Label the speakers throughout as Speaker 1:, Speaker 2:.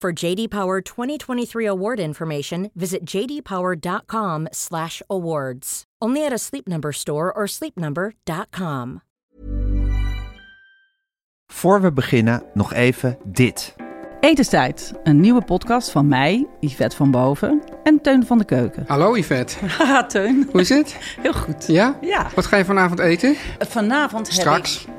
Speaker 1: For JD Power 2023 award information, visit jdpower.com/awards. Only at a Sleep Number store or sleepnumber.com.
Speaker 2: Voor we beginnen nog even dit.
Speaker 3: Etenstijd, een nieuwe podcast van mij, Yvette van Boven en Teun van de Keuken.
Speaker 4: Hallo Yvette,
Speaker 3: Haha, Teun.
Speaker 4: hoe is het?
Speaker 3: Heel goed.
Speaker 4: Ja?
Speaker 3: Ja.
Speaker 4: Wat ga je vanavond eten?
Speaker 3: Vanavond heb
Speaker 4: Straks?
Speaker 3: ik...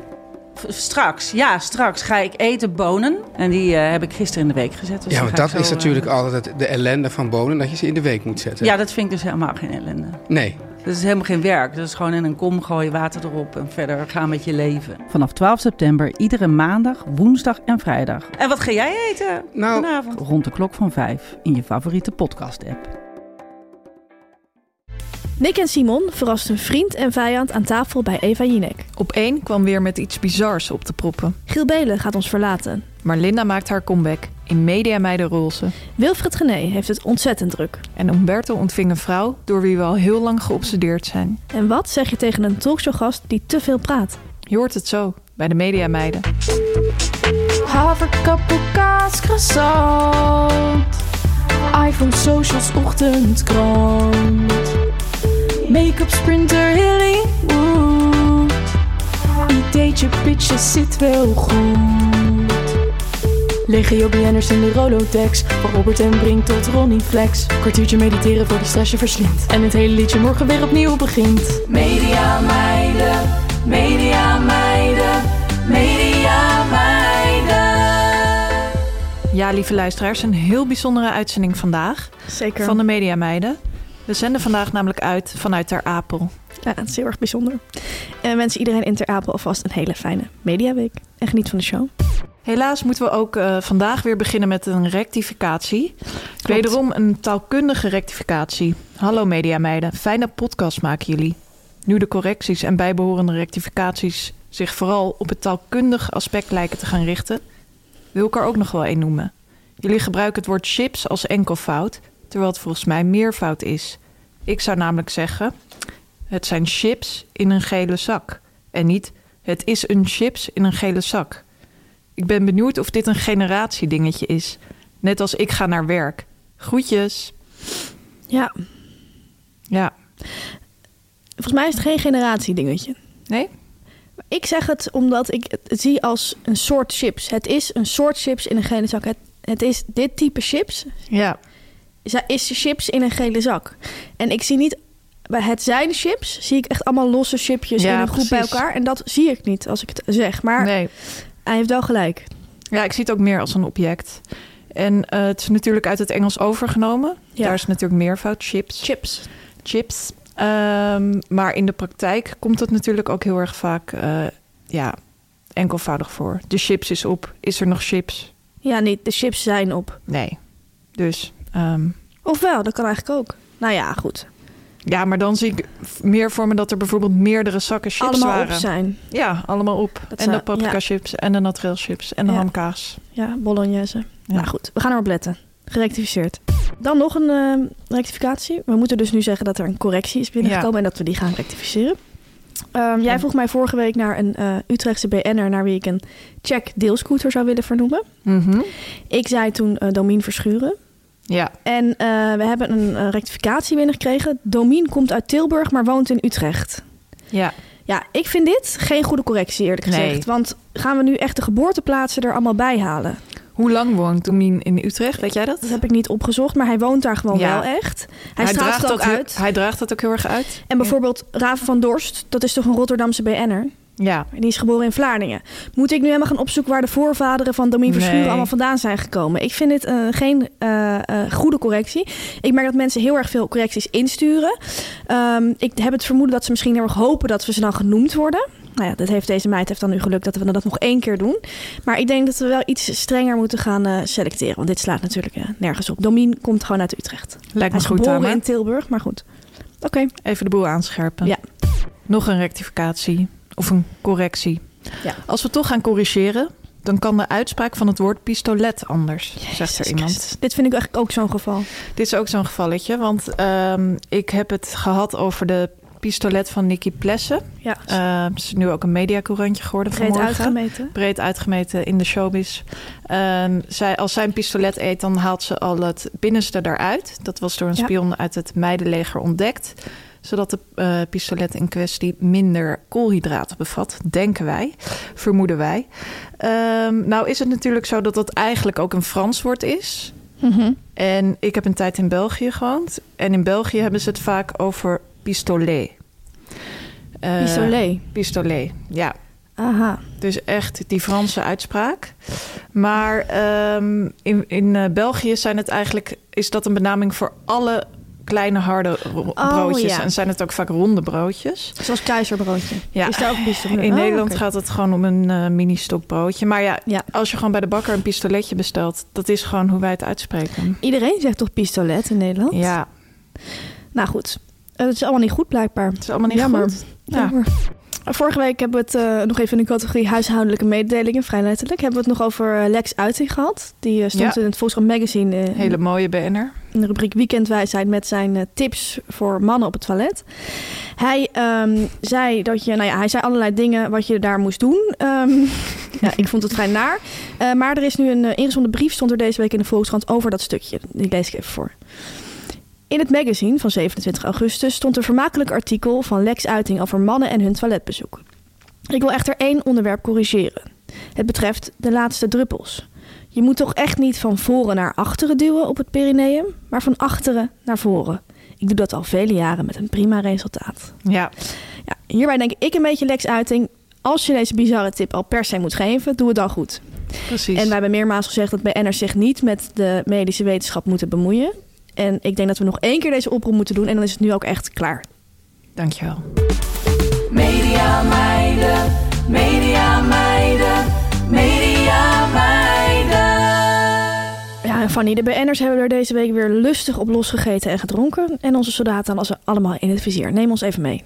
Speaker 3: v- Straks, ja, straks ga ik eten bonen. En die eh, heb ik gisteren in de week gezet. dus die
Speaker 4: Ja, want
Speaker 3: ga ik
Speaker 4: dat
Speaker 3: zo,
Speaker 4: is
Speaker 3: eh,
Speaker 4: natuurlijk altijd het- de ellende van bonen, dat je ze in de week moet zetten.
Speaker 3: Ja, dat vind ik dus helemaal geen ellende.
Speaker 4: Nee.
Speaker 3: Dat is helemaal geen werk. Dat is gewoon in een kom gooien, water erop en verder gaan met je leven. Vanaf 12 september, iedere maandag, woensdag en vrijdag. En wat ga jij eten
Speaker 4: Nou-
Speaker 3: vanavond? Rond de klok van 5 in je favoriete podcast-app.
Speaker 5: Nick en Simon verrast een vriend en vijand aan tafel bij Eva Jinek.
Speaker 6: Op één kwam weer met iets bizars op te proppen.
Speaker 5: Giel Belen gaat ons verlaten.
Speaker 6: Maar Linda maakt haar comeback in media meidenroze.
Speaker 5: Wilfred Gené heeft het ontzettend druk.
Speaker 6: En Umberto ontving een vrouw door wie we al heel lang geobsedeerd zijn.
Speaker 5: En wat zeg je tegen een talkshowgast die te veel praat?
Speaker 6: Je hoort het zo bij de media meiden.
Speaker 7: Haverkappelkaas, croissant. iPhone, socials, ochtendkrant. Make-up, sprinter, Hollywood. Ideetje, pitje, zit wel goed. Legio BN'ers in de Rolodex. Van Robert en Brink tot Ronnie Flex. Kwartiertje mediteren voor die stress je verslindt. En het hele liedje morgen weer opnieuw begint. Media meiden, media meiden, media meiden.
Speaker 6: Ja, lieve luisteraars, een heel bijzondere uitzending vandaag
Speaker 5: Zeker.
Speaker 6: van de media meiden. We zenden vandaag namelijk uit vanuit Ter Apel.
Speaker 5: Ja, het is heel erg bijzonder. En we wensen iedereen in Ter Apel alvast een hele fijne mediaweek. En geniet van de show.
Speaker 6: Helaas moeten we ook eh, vandaag weer beginnen met een rectificatie. Wederom een taalkundige rectificatie. Hallo mediameiden, fijne podcast maken jullie. Nu de correcties en bijbehorende rectificaties zich vooral op het taalkundig aspect lijken te gaan richten, wil ik er ook nog wel één noemen. Jullie gebruiken het woord chips als enkelvoud, terwijl het volgens mij meervoud is. Ik zou namelijk zeggen: het zijn chips in een gele zak. En niet: het is een chips in een gele zak. Ik ben benieuwd of dit een generatiedingetje is. Net als ik ga naar werk. Groetjes.
Speaker 5: Ja,
Speaker 6: Ja.
Speaker 5: volgens mij is het geen generatie-dingetje.
Speaker 6: Nee?
Speaker 5: Ik zeg het omdat ik het zie als een soort chips. Het is een soort chips in een gele zak. Het, het is dit type chips
Speaker 6: Ja.
Speaker 5: Zij- is de chips in een gele zak. En ik zie niet bij het zijn chips, zie ik echt allemaal losse chipjes
Speaker 6: Ja,
Speaker 5: in een groep bij
Speaker 6: precies.
Speaker 5: elkaar. En dat zie ik niet als ik het zeg. Maar
Speaker 6: Nee.
Speaker 5: hij heeft wel gelijk.
Speaker 6: Ja, ik zie het ook meer als een object. En eh, het is natuurlijk uit het Engels overgenomen.
Speaker 5: Ja.
Speaker 6: Daar is natuurlijk meervoud. Chips.
Speaker 5: Chips.
Speaker 6: Chips. Ehm, maar in de praktijk komt het natuurlijk ook heel erg vaak eh, ja, enkelvoudig voor. De chips is op. Is er nog chips?
Speaker 5: Ja, niet. De chips zijn op.
Speaker 6: Nee. Dus ehm,
Speaker 5: Ofwel, dat kan eigenlijk ook. Nou ja, goed.
Speaker 6: ja, maar dan zie ik f- meer voor me dat er bijvoorbeeld meerdere zakken chips
Speaker 5: allemaal
Speaker 6: waren.
Speaker 5: op zijn.
Speaker 6: Ja, allemaal op.
Speaker 5: Dat
Speaker 6: en
Speaker 5: zou-
Speaker 6: de paprika
Speaker 5: ja.
Speaker 6: chips en de naturel chips en de
Speaker 5: Ja.
Speaker 6: hamkaas.
Speaker 5: Ja, bolognese.
Speaker 6: Ja.
Speaker 5: Nou goed, we gaan erop letten. Gerectificeerd. Dan nog een eh, rectificatie. We moeten dus nu zeggen dat er een correctie is binnengekomen en dat we die gaan rectificeren. Ehm, jij
Speaker 6: En-
Speaker 5: vroeg mij vorige week naar een eh, Utrechtse BN'er naar wie ik een check deelscooter zou willen vernoemen. Ik zei toen eh Domien Verschuren.
Speaker 6: Mhm. Ja,
Speaker 5: En eh, we hebben een eh, rectificatie binnengekregen. Domien komt uit Tilburg, maar woont in Utrecht.
Speaker 6: ja.
Speaker 5: Ja, ik vind dit geen goede correctie, eerlijk
Speaker 6: Nee.
Speaker 5: gezegd. Want gaan we nu echt de geboorteplaatsen er allemaal bij halen?
Speaker 6: Hoe lang woont Domien in Utrecht? Weet jij dat?
Speaker 5: Dat heb ik niet opgezocht, maar hij woont daar gewoon
Speaker 6: Ja.
Speaker 5: wel echt. Hij, straalt
Speaker 6: draagt
Speaker 5: het ook
Speaker 6: dat heel-
Speaker 5: uit.
Speaker 6: Hij draagt dat ook heel erg uit.
Speaker 5: En bijvoorbeeld Raven van Dorst, dat is toch een Rotterdamse BN'er?
Speaker 6: Ja.
Speaker 5: Die is geboren in Vlaardingen. Moet ik nu helemaal gaan opzoeken waar de voorvaderen van Domien Verschuren
Speaker 6: Nee.
Speaker 5: allemaal vandaan zijn gekomen? Ik vind dit eh, geen eh, eh, goede correctie. Ik merk dat mensen heel erg veel correcties insturen. Ehm, ik heb het vermoeden dat ze misschien heel erg hopen dat we ze dan genoemd worden. Nou ja, dat heeft deze meid heeft dan nu geluk dat we dat nog één keer doen. Maar ik denk dat we wel iets strenger moeten gaan eh, selecteren. Want dit slaat natuurlijk eh, nergens op. Domien komt gewoon uit Utrecht.
Speaker 6: Lijkt
Speaker 5: Hij
Speaker 6: me
Speaker 5: is
Speaker 6: goed, eh,
Speaker 5: geboren
Speaker 6: Tamer.
Speaker 5: in Tilburg, maar goed. Oké.
Speaker 6: Even de boel aanscherpen.
Speaker 5: Ja.
Speaker 6: Nog een rectificatie of een correctie.
Speaker 5: Ja.
Speaker 6: Als we toch gaan corrigeren, dan kan de uitspraak van het woord pistolet anders, zegt er
Speaker 5: Jezus
Speaker 6: iemand.
Speaker 5: Christus. Dit vind ik eigenlijk ook zo'n geval.
Speaker 6: Dit is ook zo'n gevalletje, want ehm, ik heb het gehad over de pistolet van Nicky Plessen.
Speaker 5: Ja,
Speaker 6: Eh, Ze is nu ook een mediacourantje geworden
Speaker 5: breed
Speaker 6: vanmorgen.
Speaker 5: uitgemeten.
Speaker 6: breed uitgemeten in de showbiz. Ehm, zij, als zij een pistolet eet, dan haalt ze al het binnenste eruit. Dat was door een
Speaker 5: Ja.
Speaker 6: spion uit het meidenleger ontdekt. Zodat de eh, pistolet in kwestie minder koolhydraten bevat, denken wij, vermoeden wij. Ehm, nou is het natuurlijk zo dat dat eigenlijk ook een Frans woord is.
Speaker 5: Mhm.
Speaker 6: En ik heb een tijd in België gewoond. En in België hebben ze het vaak over pistolet. Eh,
Speaker 5: Isolé.
Speaker 6: Pistolet, ja.
Speaker 5: Aha.
Speaker 6: Dus echt die Franse uitspraak. Maar ehm, in, in eh, België zijn het eigenlijk, is dat een benaming voor alle kleine harde ro-
Speaker 5: Oh,
Speaker 6: broodjes.
Speaker 5: ja.
Speaker 6: En zijn het ook vaak ronde broodjes.
Speaker 5: Zoals keizerbroodje.
Speaker 6: Ja.
Speaker 5: Is daar ook een pistolet?
Speaker 6: In
Speaker 5: Oh,
Speaker 6: Nederland
Speaker 5: oké.
Speaker 6: gaat het gewoon om een eh, mini stokbroodje. Maar ja,
Speaker 5: Ja.
Speaker 6: als je gewoon bij de bakker een pistoletje bestelt, dat is gewoon hoe wij het uitspreken.
Speaker 5: Iedereen zegt toch pistolet in Nederland?
Speaker 6: Ja,
Speaker 5: Nou goed. Eh, Het is allemaal niet goed blijkbaar.
Speaker 6: het is allemaal niet
Speaker 5: Jammer.
Speaker 6: goed. Ja.
Speaker 5: Jammer. Vorige week hebben we het eh, nog even in de categorie huishoudelijke mededelingen, vrij letterlijk. Hebben we het nog over eh, Lex Uiting gehad. Die eh, stond
Speaker 6: Ja.
Speaker 5: in het Volkskrant Magazine eh,
Speaker 6: Hele mooie banner.
Speaker 5: in de rubriek Weekendwijsheid met zijn eh, tips voor mannen op het toilet. Hij, ehm, zei dat je, nou ja, hij zei allerlei dingen wat je daar moest doen. Ehm, ja, ik vond het vrij naar. Eh, maar er is nu een eh, ingezonden brief, stond er deze week in de Volkskrant over dat stukje. Die lees ik even voor. In het magazine van 27 augustus stond een vermakelijk artikel van Lex Uiting over mannen en hun toiletbezoek. Ik wil echter één onderwerp corrigeren. Het betreft de laatste druppels. Je moet toch echt niet van voren naar achteren duwen op het perineum, maar van achteren naar voren. Ik doe dat al vele jaren met een prima resultaat.
Speaker 6: Ja,
Speaker 5: Ja, hierbij denk ik een beetje Lex Uiting. Als je deze bizarre tip al per se moet geven, doe het dan goed.
Speaker 6: precies.
Speaker 5: En wij hebben meermaals gezegd dat BN'ers zich niet met de medische wetenschap moeten bemoeien. En ik denk dat we nog één keer deze oproep moeten doen en dan is het nu ook echt klaar.
Speaker 6: Dankjewel.
Speaker 7: Media meiden, media meiden, media meiden.
Speaker 5: Ja, en Fanny, de BN'ers hebben er deze week weer lustig op losgegeten en gedronken. En onze soldaten hadden ze allemaal in het vizier. Neem ons even mee.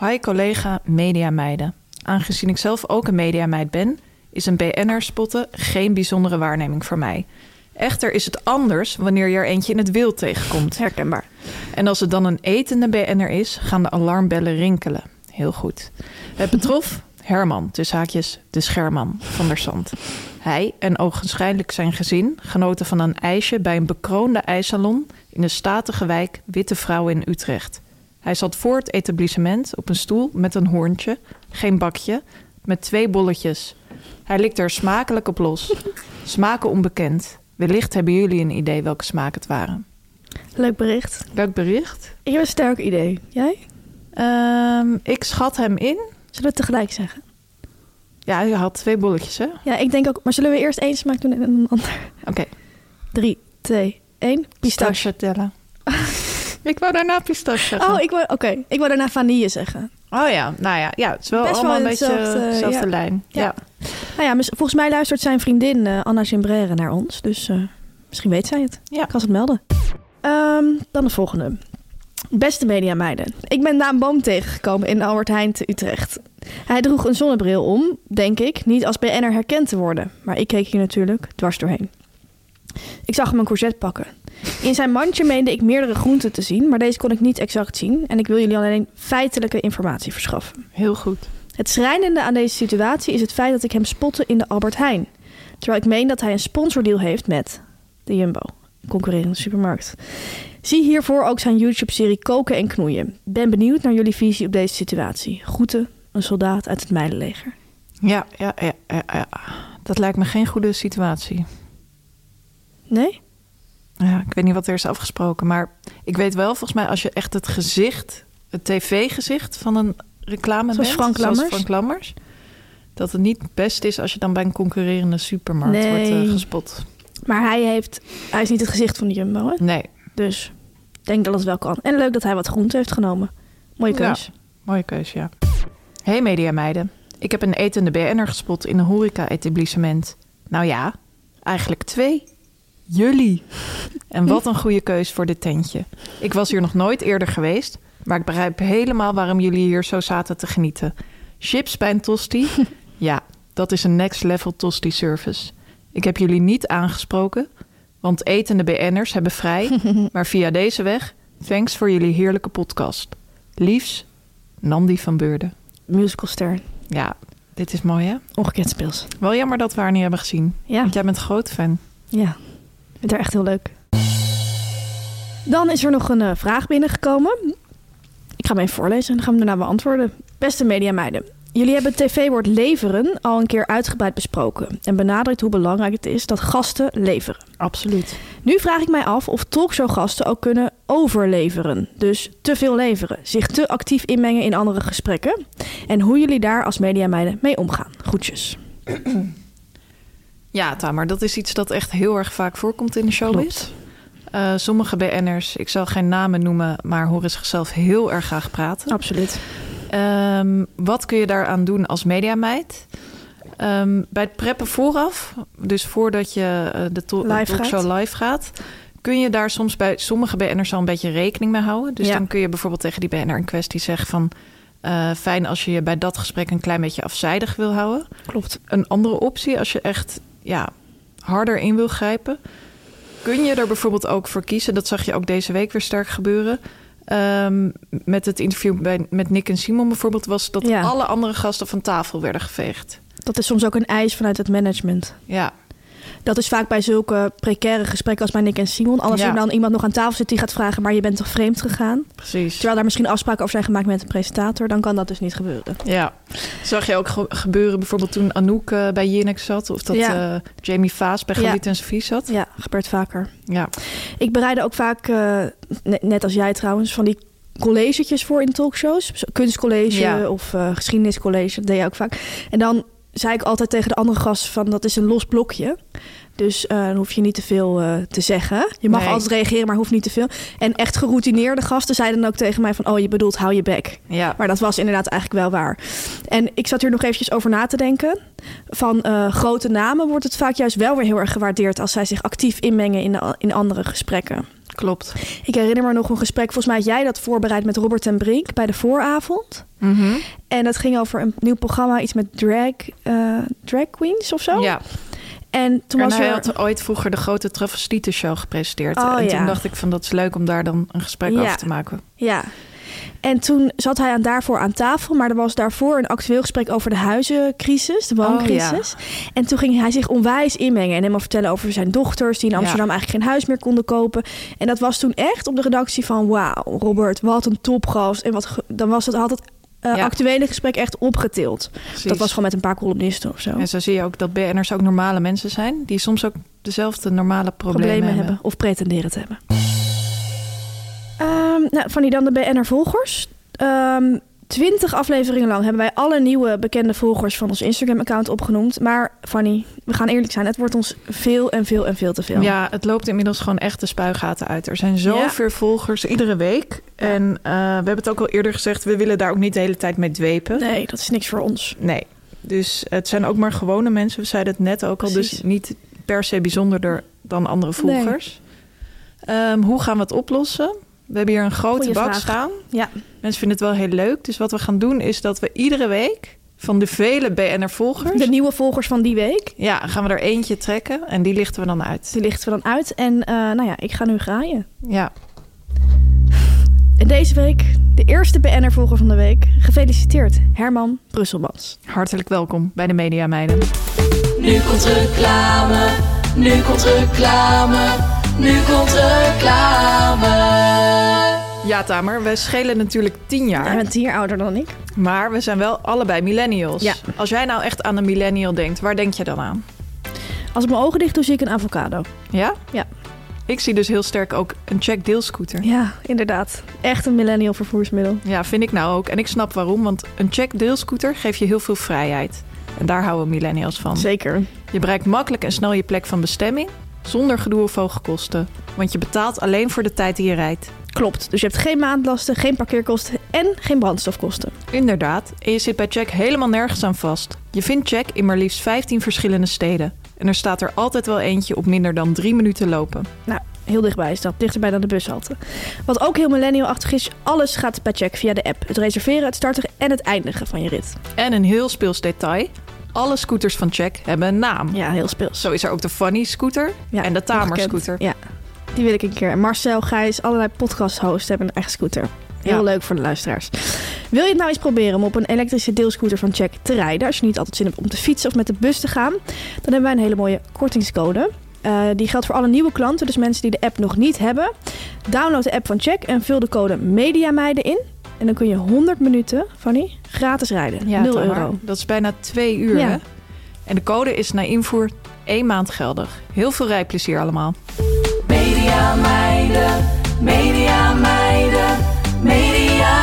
Speaker 6: Hi collega mediameiden. Aangezien ik zelf ook een mediameid ben, is een BN'er spotten geen bijzondere waarneming voor mij. Echter is het anders wanneer je er eentje in het wild tegenkomt.
Speaker 5: Herkenbaar.
Speaker 6: En als het dan een etende BN'er is, gaan de alarmbellen rinkelen. Heel goed. Het betrof Herman, tussen haakjes de scherman van der Sand. Hij en ogenschijnlijk zijn gezin genoten van een ijsje bij een bekroonde ijssalon in de statige wijk Witte Vrouwen in Utrecht. Hij zat voor het etablissement op een stoel met een hoorntje, geen bakje, met twee bolletjes. Hij likte er smakelijk op los. Smaken onbekend. Wellicht hebben jullie een idee welke smaak het waren.
Speaker 5: Leuk bericht.
Speaker 6: Leuk bericht.
Speaker 5: Ik heb een sterk idee. Jij?
Speaker 6: Ehm, ik schat hem in.
Speaker 5: Zullen we het tegelijk zeggen?
Speaker 6: Ja, hij had twee bolletjes, hè?
Speaker 5: Ja, ik denk ook. Maar zullen we eerst één smaak doen en dan een ander?
Speaker 6: Oké.
Speaker 5: Drie, twee, één. Pistache.
Speaker 6: Pistache tellen. ik wou daarna pistache zeggen.
Speaker 5: Oh, ik wou, oké. Ik wou daarna vanille zeggen.
Speaker 6: Oh ja, nou ja. Ja, het is wel
Speaker 5: Best wel
Speaker 6: allemaal een
Speaker 5: in
Speaker 6: beetje
Speaker 5: hetzelfde,
Speaker 6: dezelfde
Speaker 5: ja.
Speaker 6: lijn.
Speaker 5: Ja.
Speaker 6: Ja.
Speaker 5: Nou ja, mis- volgens mij luistert zijn vriendin eh, Anna Gimbrere naar ons. Dus eh, misschien weet zij het.
Speaker 6: Ja.
Speaker 5: Ik kan ze het melden. Ehm, dan de volgende. Beste mediameiden. Ik ben Daan Boom tegengekomen in Albert Heijn te Utrecht. Hij droeg een zonnebril om, denk ik, niet als BN'er herkend te worden. Maar ik keek hier natuurlijk dwars doorheen. Ik zag hem een corset pakken. In zijn mandje meende ik meerdere groenten te zien, maar deze kon ik niet exact zien. En ik wil jullie alleen feitelijke informatie verschaffen.
Speaker 6: Heel goed.
Speaker 5: Het schrijnende aan deze situatie is het feit dat ik hem spotte in de Albert Heijn. Terwijl ik meen dat hij een sponsordeal heeft met de Jumbo, een concurrerende supermarkt. Zie hiervoor ook zijn YouTube-serie Koken en Knoeien. Ben benieuwd naar jullie visie op deze situatie. Groeten, een soldaat uit het Meidenleger.
Speaker 6: Ja, ja, ja, ja, ja. Dat lijkt me geen goede situatie.
Speaker 5: Nee?
Speaker 6: Ja, ik weet niet wat er is afgesproken, maar ik weet wel, volgens mij, als je echt het gezicht, het tv-gezicht van een reclame
Speaker 5: Zoals
Speaker 6: bent,
Speaker 5: Frank Lammers?
Speaker 6: Frank Lammers, dat het niet best is als je dan bij een concurrerende supermarkt wordt eh,
Speaker 5: Nee.
Speaker 6: gespot.
Speaker 5: Maar hij, heeft, hij is niet het gezicht van de Jumbo, hè?
Speaker 6: Nee,
Speaker 5: Dus ik denk dat het wel kan. En leuk dat hij wat groente heeft genomen. Mooie keus.
Speaker 6: mooie keus, ja. Hey mediameiden, ik heb een etende BN'er gespot in een horeca-etablissement. Nou ja, eigenlijk twee. Jullie. En wat een goede keus voor dit tentje. Ik was hier nog nooit eerder geweest, maar ik begrijp helemaal waarom jullie hier zo zaten te genieten. Chips bij een tosti? Ja, dat is een next level tosti service. Ik heb jullie niet aangesproken, want etende BN'ers hebben vrij, maar via deze weg, thanks voor jullie heerlijke podcast. Liefs, Nandi van Beurden.
Speaker 5: Musicalster.
Speaker 6: Ja, dit is mooi hè?
Speaker 5: Ongekend speels.
Speaker 6: Wel jammer dat we haar niet hebben gezien.
Speaker 5: Ja.
Speaker 6: Want jij bent groot fan.
Speaker 5: Ja, ik vind haar echt heel leuk. Dan is er nog een eh, vraag binnengekomen. Ik ga hem even voorlezen en dan gaan we hem daarna beantwoorden. Beste mediameiden, jullie hebben het tv-woord leveren al een keer uitgebreid besproken... en benadrukt hoe belangrijk het is dat gasten leveren.
Speaker 6: Absoluut.
Speaker 5: Nu vraag ik mij af of talkshowgasten ook kunnen overleveren. Dus te veel leveren, zich te actief inmengen in andere gesprekken... en hoe jullie daar als mediameiden mee omgaan. Groetjes.
Speaker 6: Ja, Tamer, dat is iets dat echt heel erg vaak voorkomt in de showbiz. Eh, sommige BN'ers, ik zal geen namen noemen, maar horen zichzelf heel erg graag praten.
Speaker 5: Absoluut.
Speaker 6: Ehm, wat kun je daaraan doen als mediameid? Ehm, bij het preppen vooraf, dus voordat je eh, de to-
Speaker 5: Live
Speaker 6: talkshow
Speaker 5: gaat.
Speaker 6: live gaat... kun je daar soms bij sommige BN'ers al een beetje rekening mee houden. Dus
Speaker 5: Ja.
Speaker 6: dan kun je bijvoorbeeld tegen die BN'er in kwestie zeggen van... eh, fijn als je je bij dat gesprek een klein beetje afzijdig wil houden.
Speaker 5: Klopt.
Speaker 6: Een andere optie, als je echt ja, harder in wil grijpen... kun je er bijvoorbeeld ook voor kiezen. Dat zag je ook deze week weer sterk gebeuren. Ehm, met het interview bij, met Nick en Simon bijvoorbeeld... was dat
Speaker 5: Ja.
Speaker 6: alle andere gasten van tafel werden geveegd.
Speaker 5: Dat is soms ook een eis vanuit het management.
Speaker 6: Ja,
Speaker 5: Dat is vaak bij zulke precaire gesprekken als bij Nick en Simon. Alles
Speaker 6: Ja.
Speaker 5: er dan iemand nog aan tafel zit die gaat vragen... maar je bent toch vreemd gegaan?
Speaker 6: precies.
Speaker 5: Terwijl daar misschien afspraken over zijn gemaakt met een presentator... dan kan dat dus niet gebeuren.
Speaker 6: Ja, zag je ook ge- gebeuren bijvoorbeeld toen Anouk eh, bij Jinek zat... of dat
Speaker 5: Ja.
Speaker 6: eh, Jamie Vaas bij
Speaker 5: Ja.
Speaker 6: Galit en Sofie zat.
Speaker 5: Ja, gebeurt vaker.
Speaker 6: Ja,
Speaker 5: Ik bereidde ook vaak, eh, ne- net als jij trouwens... van die collegetjes voor in talkshows. Zo- Kunstcollege
Speaker 6: Ja.
Speaker 5: of eh, geschiedeniscollege, dat deed je ook vaak. En dan zei ik altijd tegen de andere gast van... dat is een los blokje... Dus eh, dan hoef je niet te veel eh, te zeggen. Je mag
Speaker 6: Nee.
Speaker 5: altijd reageren, maar hoeft niet te veel. En echt geroutineerde gasten zeiden dan ook tegen mij van... oh, je bedoelt hou je bek.
Speaker 6: ja.
Speaker 5: Maar dat was inderdaad eigenlijk wel waar. En ik zat hier nog eventjes over na te denken. Van eh, grote namen wordt het vaak juist wel weer heel erg gewaardeerd... als zij zich actief inmengen in, de- in andere gesprekken.
Speaker 6: klopt.
Speaker 5: Ik herinner me nog een gesprek, volgens mij had jij dat voorbereid... met Robert en Brink bij de vooravond.
Speaker 6: Mhm.
Speaker 5: En dat ging over een nieuw programma, iets met drag, eh, drag queens of zo.
Speaker 6: Ja,
Speaker 5: En toen
Speaker 6: en
Speaker 5: was
Speaker 6: hij
Speaker 5: er...
Speaker 6: had ooit vroeger de grote Travestieten-show gepresenteerd.
Speaker 5: Oh,
Speaker 6: en toen
Speaker 5: ja.
Speaker 6: dacht ik van, dat is leuk om daar dan een gesprek
Speaker 5: Ja.
Speaker 6: over te maken.
Speaker 5: Ja. En toen zat hij aan daarvoor aan tafel, maar er was daarvoor een actueel gesprek over de huizencrisis,
Speaker 6: Oh,
Speaker 5: de wooncrisis. En toen ging hij zich onwijs inmengen en helemaal vertellen over zijn dochters die in
Speaker 6: Ja.
Speaker 5: Amsterdam eigenlijk geen huis meer konden kopen. En dat was toen echt op de redactie van wauw, Robert, wat een topgast. En wat ge- dan was het altijd eh,
Speaker 6: Ja.
Speaker 5: actuele gesprek echt opgetild.
Speaker 6: Precies.
Speaker 5: Dat was gewoon met een paar columnisten of zo.
Speaker 6: En zo zie je ook dat BN'ers ook normale mensen zijn... die soms ook dezelfde normale problemen,
Speaker 5: problemen hebben.
Speaker 6: hebben.
Speaker 5: of pretenderen te hebben. Ehm, nou, van die dan de BNR volgers. Ehm 20 afleveringen lang hebben wij alle nieuwe bekende volgers van ons Instagram-account opgenoemd. Maar Fanny, we gaan eerlijk zijn, het wordt ons veel en veel en veel te veel.
Speaker 6: Ja, het loopt inmiddels gewoon echt de spuigaten uit. Er zijn zoveel volgers iedere week. En eh, we hebben het ook al eerder gezegd... we willen daar ook niet de hele tijd mee dwepen.
Speaker 5: Nee, dat is niks voor ons.
Speaker 6: Nee. Dus het zijn ook maar gewone mensen. We zeiden het net ook al. Dus
Speaker 5: Precies.
Speaker 6: niet per se bijzonderder dan andere volgers. Ehm, hoe gaan we het oplossen? We hebben hier een grote
Speaker 5: Goeie
Speaker 6: bak
Speaker 5: vraag.
Speaker 6: staan.
Speaker 5: Ja.
Speaker 6: Mensen vinden het wel heel leuk. Dus wat we gaan doen is dat we iedere week van de vele BNR-volgers...
Speaker 5: De nieuwe volgers van die week,
Speaker 6: Ja, gaan we er eentje trekken en die lichten we dan uit.
Speaker 5: die lichten we dan uit. En eh, nou ja, ik ga nu graaien.
Speaker 6: Ja,
Speaker 5: En deze week, de eerste BNR-volger van de week. Gefeliciteerd, Herman Brusselmans.
Speaker 6: hartelijk welkom bij de Media Meiden.
Speaker 7: Nu komt reclame, nu komt reclame, nu komt reclame.
Speaker 6: Ja, Tamer, we schelen natuurlijk tien
Speaker 5: Jij
Speaker 6: jaar.
Speaker 5: bent hier ouder dan ik.
Speaker 6: Maar we zijn wel allebei millennials.
Speaker 5: Ja.
Speaker 6: Als jij nou echt aan een millennial denkt, waar denk je dan aan?
Speaker 5: Als ik mijn ogen dicht doe, zie ik een avocado.
Speaker 6: Ja?
Speaker 5: Ja.
Speaker 6: Ik zie dus heel sterk ook een check deelscooter.
Speaker 5: Ja, inderdaad. Echt een millennial vervoersmiddel.
Speaker 6: Ja, vind ik nou ook. En ik snap waarom, want een check deelscooter geeft je heel veel vrijheid. En daar houden millennials van.
Speaker 5: Zeker.
Speaker 6: Je bereikt makkelijk en snel je plek van bestemming, zonder gedoe of hoge kosten. Want je betaalt alleen voor de tijd die je rijdt.
Speaker 5: Klopt. Dus je hebt geen maandlasten, geen parkeerkosten en geen brandstofkosten.
Speaker 6: Inderdaad, en je zit bij Check helemaal nergens aan vast. Je vindt Check in maar liefst 15 verschillende steden. En er staat er altijd wel eentje op minder dan drie minuten lopen.
Speaker 5: Nou, Heel dichtbij is dat, dichterbij dan de bushalte. Wat ook heel millennial-achtig is, alles gaat per check via de app. Het reserveren, het starten en het eindigen van je rit.
Speaker 6: En een heel speels detail: alle scooters van Check hebben een naam.
Speaker 5: Ja, heel speels.
Speaker 6: Zo is er ook de Funny Scooter
Speaker 5: Ja,
Speaker 6: en de Tamer
Speaker 5: ongekend.
Speaker 6: Scooter.
Speaker 5: Ja, die wil ik een keer. En Marcel, Gijs, allerlei podcast-hosts hebben een eigen scooter. Heel
Speaker 6: Ja.
Speaker 5: leuk voor de luisteraars. Wil je het nou eens proberen om op een elektrische deelscooter van Check te rijden? Als je niet altijd zin hebt om te fietsen of met de bus te gaan, dan hebben wij een hele mooie kortingscode. Eh, die geldt voor alle nieuwe klanten, dus mensen die de app nog niet hebben. Download de app van Check en vul de code MEDIAMEIDEN in. En dan kun je 100 minuten, Fanny, gratis rijden. 0
Speaker 6: Tamar,
Speaker 5: euro.
Speaker 6: Dat is bijna twee uur.
Speaker 5: Ja.
Speaker 6: Hè? En de code is na invoer één maand geldig. Heel veel rijplezier allemaal.
Speaker 7: Media meiden, media meiden, media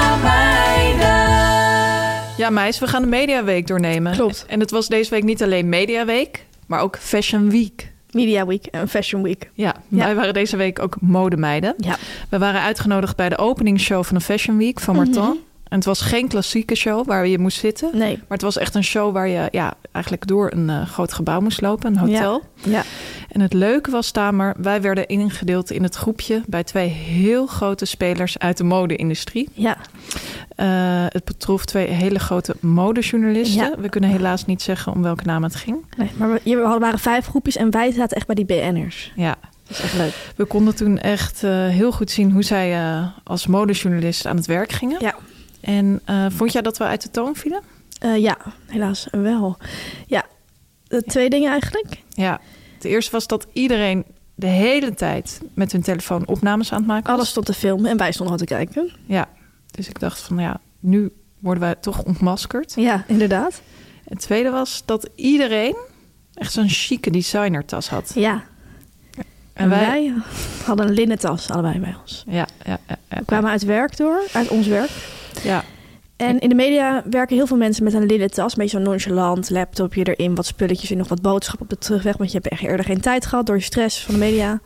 Speaker 7: meiden.
Speaker 6: Ja, meis, we gaan de Mediaweek doornemen.
Speaker 5: Klopt.
Speaker 6: En het was deze week niet alleen Mediaweek, maar ook Fashion Week.
Speaker 5: Media Week en Fashion Week.
Speaker 6: Ja,
Speaker 5: Ja.
Speaker 6: wij waren deze week ook modemeiden.
Speaker 5: Ja.
Speaker 6: We waren uitgenodigd bij de openingsshow van de Fashion Week van
Speaker 5: Mhm.
Speaker 6: Martin. En het was geen klassieke show waar je moest zitten.
Speaker 5: Nee.
Speaker 6: Maar het was echt een show waar je ja, eigenlijk door een eh, groot gebouw moest lopen, een hotel.
Speaker 5: Ja.
Speaker 6: En het leuke was, Tamer, wij werden ingedeeld in het groepje bij twee heel grote spelers uit de mode-industrie.
Speaker 5: Ja.
Speaker 6: Eh, het betrof twee hele grote modejournalisten.
Speaker 5: Ja.
Speaker 6: We kunnen helaas niet zeggen om welke naam het ging.
Speaker 5: Nee, maar we, hier waren vijf groepjes en wij zaten echt bij die BN'ers.
Speaker 6: Ja,
Speaker 5: Dat is echt leuk.
Speaker 6: we konden toen echt eh, heel goed zien hoe zij eh, als modejournalist aan het werk gingen.
Speaker 5: Ja.
Speaker 6: En eh, vond jij dat we uit de toon vielen?
Speaker 5: Eh, ja, helaas wel. Ja, eh, twee dingen eigenlijk.
Speaker 6: Ja. Het eerste was dat iedereen de hele tijd met hun telefoon opnames aan het maken was.
Speaker 5: Alles stond te filmen en wij stonden al te kijken.
Speaker 6: Ja. Dus ik dacht van ja, nu worden wij toch ontmaskerd.
Speaker 5: Ja, inderdaad.
Speaker 6: Het tweede was dat iedereen echt zo'n chique designertas had.
Speaker 5: Ja, en wij, hadden een linnen tas allebei bij ons.
Speaker 6: Ja, ja, ja, ja.
Speaker 5: We kwamen uit werk door, uit ons werk.
Speaker 6: ja.
Speaker 5: En in de media werken heel veel mensen met een linnen tas. Een beetje zo'n nonchalant, laptopje erin, wat spulletjes en nog wat boodschap op de terugweg. Want je hebt echt eerder geen tijd gehad door je stress van de media.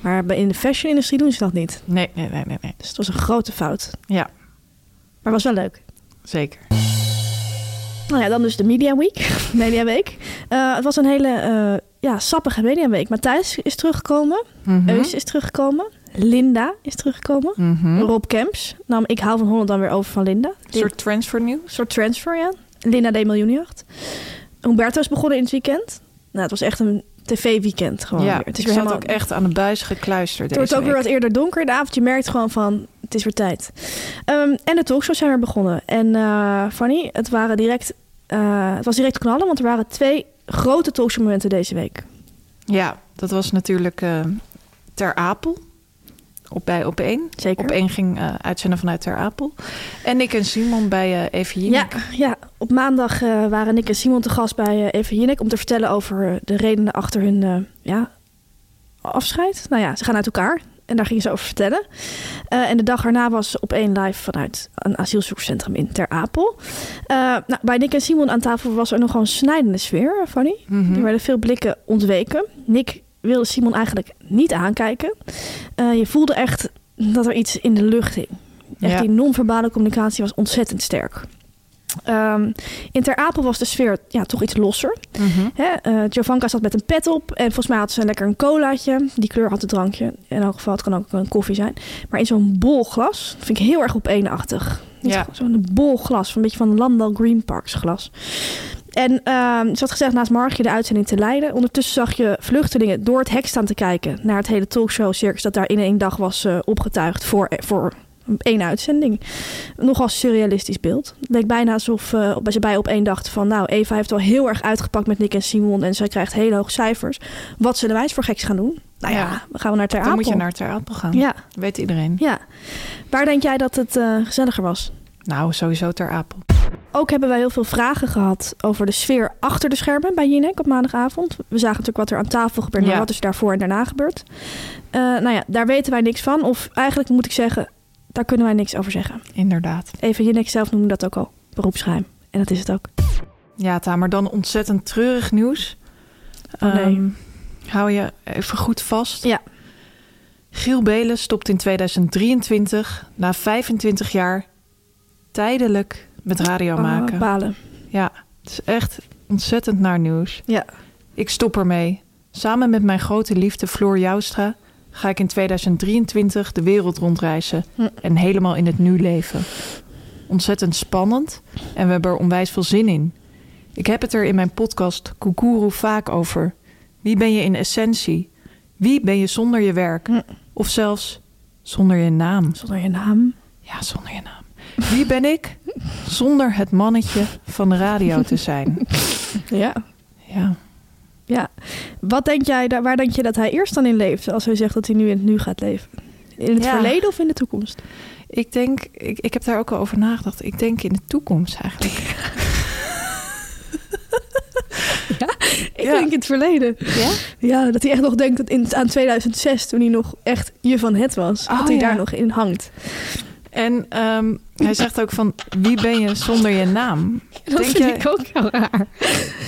Speaker 5: Maar bij- in de fashion-industrie doen ze dat niet.
Speaker 6: Nee, nee, nee, nee, nee.
Speaker 5: Dus het was een grote fout.
Speaker 6: Ja,
Speaker 5: Maar was wel leuk.
Speaker 6: zeker.
Speaker 5: Nou ja, dan dus de Media Week. Media Week. Eh, het was een hele eh, ja, sappige Media Week. Matthijs is teruggekomen.
Speaker 6: Mhm.
Speaker 5: Eus is teruggekomen. Linda is teruggekomen.
Speaker 6: Mhm.
Speaker 5: Rob Kemps nam Ik hou van Holland dan weer over van Linda.
Speaker 6: Een soort transfer
Speaker 5: Een soort transfer, ja. Linda deed miljoenenjacht. Humberto is begonnen in het weekend. Nou, het was echt een tv-weekend gewoon
Speaker 6: Ja,
Speaker 5: weer. Het is
Speaker 6: ik
Speaker 5: weer
Speaker 6: zat
Speaker 5: helemaal...
Speaker 6: ook echt aan de buis gekluisterd
Speaker 5: Het wordt ook
Speaker 6: deze
Speaker 5: weer wat
Speaker 6: week.
Speaker 5: eerder donker in de avond. Je merkt gewoon van, het is weer tijd. Ehm, en de talkshows zijn weer begonnen. En eh, Fanny, het, waren direct, eh, het was direct knallen, want er waren twee grote talkshowmomenten deze week.
Speaker 6: Ja, dat was natuurlijk eh, Ter Apel. Op bij op één.
Speaker 5: Zeker.
Speaker 6: Op één ging eh, uitzenden vanuit Ter Apel. En ik en Simon bij eh Even
Speaker 5: Ja,
Speaker 6: Jinek.
Speaker 5: ja, op maandag eh, waren Nick en Simon te gast bij eh Eva Jinek... om te vertellen over eh, de redenen achter hun eh, ja, afscheid. Nou ja, ze gaan uit elkaar. En daar gingen ze over vertellen. Eh, en de dag erna was op één live vanuit een asielzoekerscentrum in Ter Apel. Eh, nou, bij Nick en Simon aan tafel was er nog wel een snijdende sfeer, eh, Fanny.
Speaker 6: Mhm.
Speaker 5: Er werden veel blikken ontweken. Nick wilde Simon eigenlijk niet aankijken. Eh, je voelde echt dat er iets in de lucht hing. Echt
Speaker 6: Ja.
Speaker 5: die non-verbale communicatie was ontzettend sterk. Ehm, in Ter Apel was de sfeer ja, toch iets losser.
Speaker 6: Mhm.
Speaker 5: Hè? eh, Giovanka zat met een pet op en volgens mij had ze lekker een colaatje. Die kleur had het drankje. In elk geval, het kan ook een koffie zijn. Maar in zo'n bol glas, dat vind ik heel erg op eenachtig. Niet
Speaker 6: Ja.
Speaker 5: gewoon Zo'n bol glas, een beetje van Landal Green Parks glas. En ehm ze had gezegd naast Margje de uitzending te leiden. Ondertussen zag je vluchtelingen door het hek staan te kijken... naar het hele talkshow-circus dat daar in één dag was eh, opgetuigd voor, voor één uitzending. Nogal surrealistisch beeld. Het leek bijna alsof eh, ze bij op één dachten van... nou, Eva heeft wel heel erg uitgepakt met Nick en Simon... en zij krijgt hele hoge cijfers. Wat zullen wij eens voor geks gaan doen? Nou ja,
Speaker 6: Ja.
Speaker 5: we gaan we naar Ter
Speaker 6: Dan moet je
Speaker 5: Apel.
Speaker 6: naar Ter Apel gaan.
Speaker 5: Ja,
Speaker 6: Weet iedereen.
Speaker 5: ja. Waar denk jij dat het eh, gezelliger was?
Speaker 6: Nou, sowieso Ter Apel.
Speaker 5: Ook hebben wij heel veel vragen gehad over de sfeer achter de schermen bij Jinek op maandagavond. We zagen natuurlijk wat er aan tafel gebeurt, maar
Speaker 6: Ja.
Speaker 5: wat is daarvoor en daarna gebeurd. Eh, nou ja, daar weten wij niks van. Of eigenlijk moet ik zeggen, daar kunnen wij niks over zeggen.
Speaker 6: Inderdaad.
Speaker 5: Even Jinek zelf noemde dat ook al beroepsgeheim. En dat is het ook.
Speaker 6: Ja, Tamer, dan ontzettend treurig nieuws.
Speaker 5: Oh, nee.
Speaker 6: Ehm, hou je even goed vast.
Speaker 5: Ja.
Speaker 6: Giel Belen stopt in 2023, na 25 jaar, tijdelijk met radio
Speaker 5: Ah,
Speaker 6: maken.
Speaker 5: balen.
Speaker 6: ja, het is echt ontzettend naar nieuws.
Speaker 5: Ja.
Speaker 6: Ik stop ermee. Samen met mijn grote liefde Floor Joustra ga ik in 2023 de wereld rondreizen
Speaker 5: Hm.
Speaker 6: en helemaal in het nu leven. Ontzettend spannend en we hebben er onwijs veel zin in. Ik heb het er in mijn podcast Koekoeroe vaak over. Wie ben je in essentie? Wie ben je zonder je werk?
Speaker 5: Hm.
Speaker 6: Of zelfs zonder je naam?
Speaker 5: Zonder je naam.
Speaker 6: Ja, zonder je naam. Wie ben ik zonder het mannetje van de radio te zijn?
Speaker 5: Ja.
Speaker 6: Ja.
Speaker 5: ja. Wat denk jij, daar- waar denk je dat hij eerst dan in leeft? Als hij zegt dat hij nu in het nu gaat leven. In het
Speaker 6: Ja.
Speaker 5: verleden of in de toekomst?
Speaker 6: Ik denk, ik, ik heb daar ook al over nagedacht. Ik denk in de toekomst eigenlijk.
Speaker 5: Ik
Speaker 6: Ja.
Speaker 5: denk in het verleden.
Speaker 6: Ja?
Speaker 5: Ja, dat hij echt nog denkt dat in, aan 2006, toen hij nog echt je van het was,
Speaker 6: Oh,
Speaker 5: dat hij
Speaker 6: ja.
Speaker 5: daar nog in hangt.
Speaker 6: En ehm, hij zegt ook van, wie ben je zonder je naam?
Speaker 8: Dat
Speaker 6: Denk
Speaker 8: vind
Speaker 6: jij-
Speaker 8: ik ook heel raar.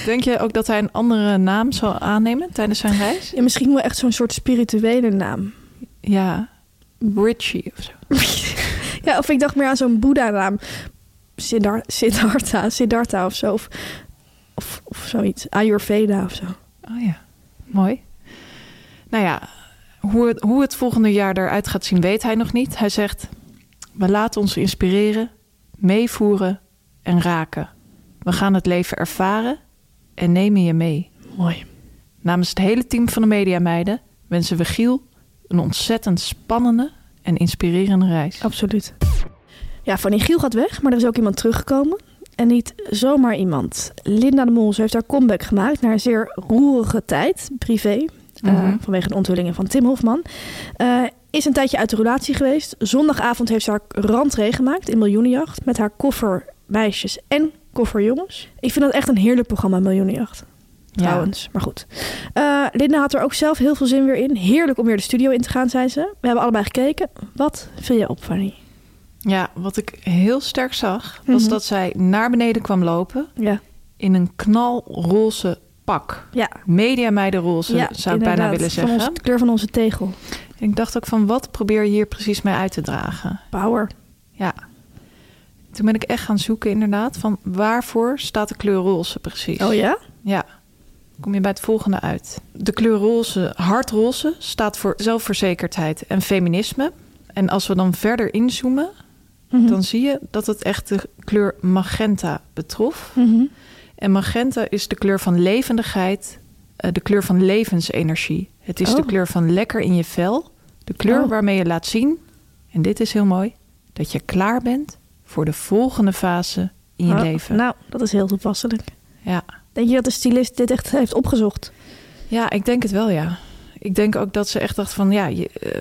Speaker 6: Denk je ook dat hij een andere naam zal aannemen tijdens zijn reis?
Speaker 5: Ja, misschien wel echt zo'n soort spirituele naam.
Speaker 6: Ja, Richie of zo.
Speaker 5: ja, of ik dacht meer aan zo'n Boeddha-naam. Siddhar- Siddhartha, Siddhartha of zo. Of, of, of zoiets. Ayurveda of zo.
Speaker 6: Oh ja, mooi. Nou ja, hoe het, hoe het volgende jaar eruit gaat zien weet hij nog niet. Hij zegt, we laten ons inspireren, meevoeren en raken. We gaan het leven ervaren en nemen je mee.
Speaker 5: Mooi.
Speaker 6: Namens het hele team van de Media Meiden wensen we Giel een ontzettend spannende en inspirerende reis.
Speaker 5: Absoluut. Ja, Fanny Giel gaat weg, maar er is ook iemand teruggekomen. En niet zomaar iemand. Linda de Mol ze heeft haar comeback gemaakt na een zeer roerige tijd, privé. eh,
Speaker 6: Mhm.
Speaker 5: vanwege de onthullingen van Tim Hofman. Eh, is een tijdje uit de relatie geweest. Zondagavond heeft ze haar rentree gemaakt in Miljoenenjacht. Met haar koffer meisjes en koffer jongens. Ik vind dat echt een heerlijk programma, Miljoenenjacht. Trouwens, maar goed. Eh, Linda had er ook zelf heel veel zin weer in. Heerlijk om weer de studio in te gaan, zei ze. We hebben allebei gekeken. Wat viel je op, Fanny?
Speaker 6: Ja, wat ik heel sterk zag, was
Speaker 5: Mhm.
Speaker 6: dat zij naar beneden kwam lopen
Speaker 5: Ja,
Speaker 6: in een knalroze pak.
Speaker 5: ja.
Speaker 6: Mediameidenroze,
Speaker 5: ja,
Speaker 6: zou ik bijna
Speaker 5: inderdaad. Van
Speaker 6: willen zeggen.
Speaker 5: ons, de kleur van onze tegel.
Speaker 6: Ik dacht ook van, wat probeer je hier precies mee uit te dragen?
Speaker 5: Power.
Speaker 6: Ja. Toen ben ik echt gaan zoeken inderdaad, van waarvoor staat de kleur roze precies?
Speaker 5: Oh ja?
Speaker 6: Ja. Kom je bij het volgende uit. De kleur roze, hardroze, staat voor zelfverzekerdheid en feminisme. En als we dan verder inzoomen,
Speaker 5: Mhm.
Speaker 6: dan zie je dat het echt de kleur magenta betrof.
Speaker 5: Mhm.
Speaker 6: En magenta is de kleur van levendigheid, eh, de kleur van levensenergie. Het is de
Speaker 5: Oh.
Speaker 6: kleur van lekker in je vel. De kleur
Speaker 5: Oh.
Speaker 6: waarmee je laat zien, en dit is heel mooi, dat je klaar bent voor de volgende fase in je
Speaker 5: Oh,
Speaker 6: leven.
Speaker 5: Nou, dat is heel toepasselijk.
Speaker 6: Ja.
Speaker 5: Denk je dat de stylist dit echt heeft opgezocht?
Speaker 6: Ja, ik denk het wel, ja. Ik denk ook dat ze echt dacht van, ja, je, eh,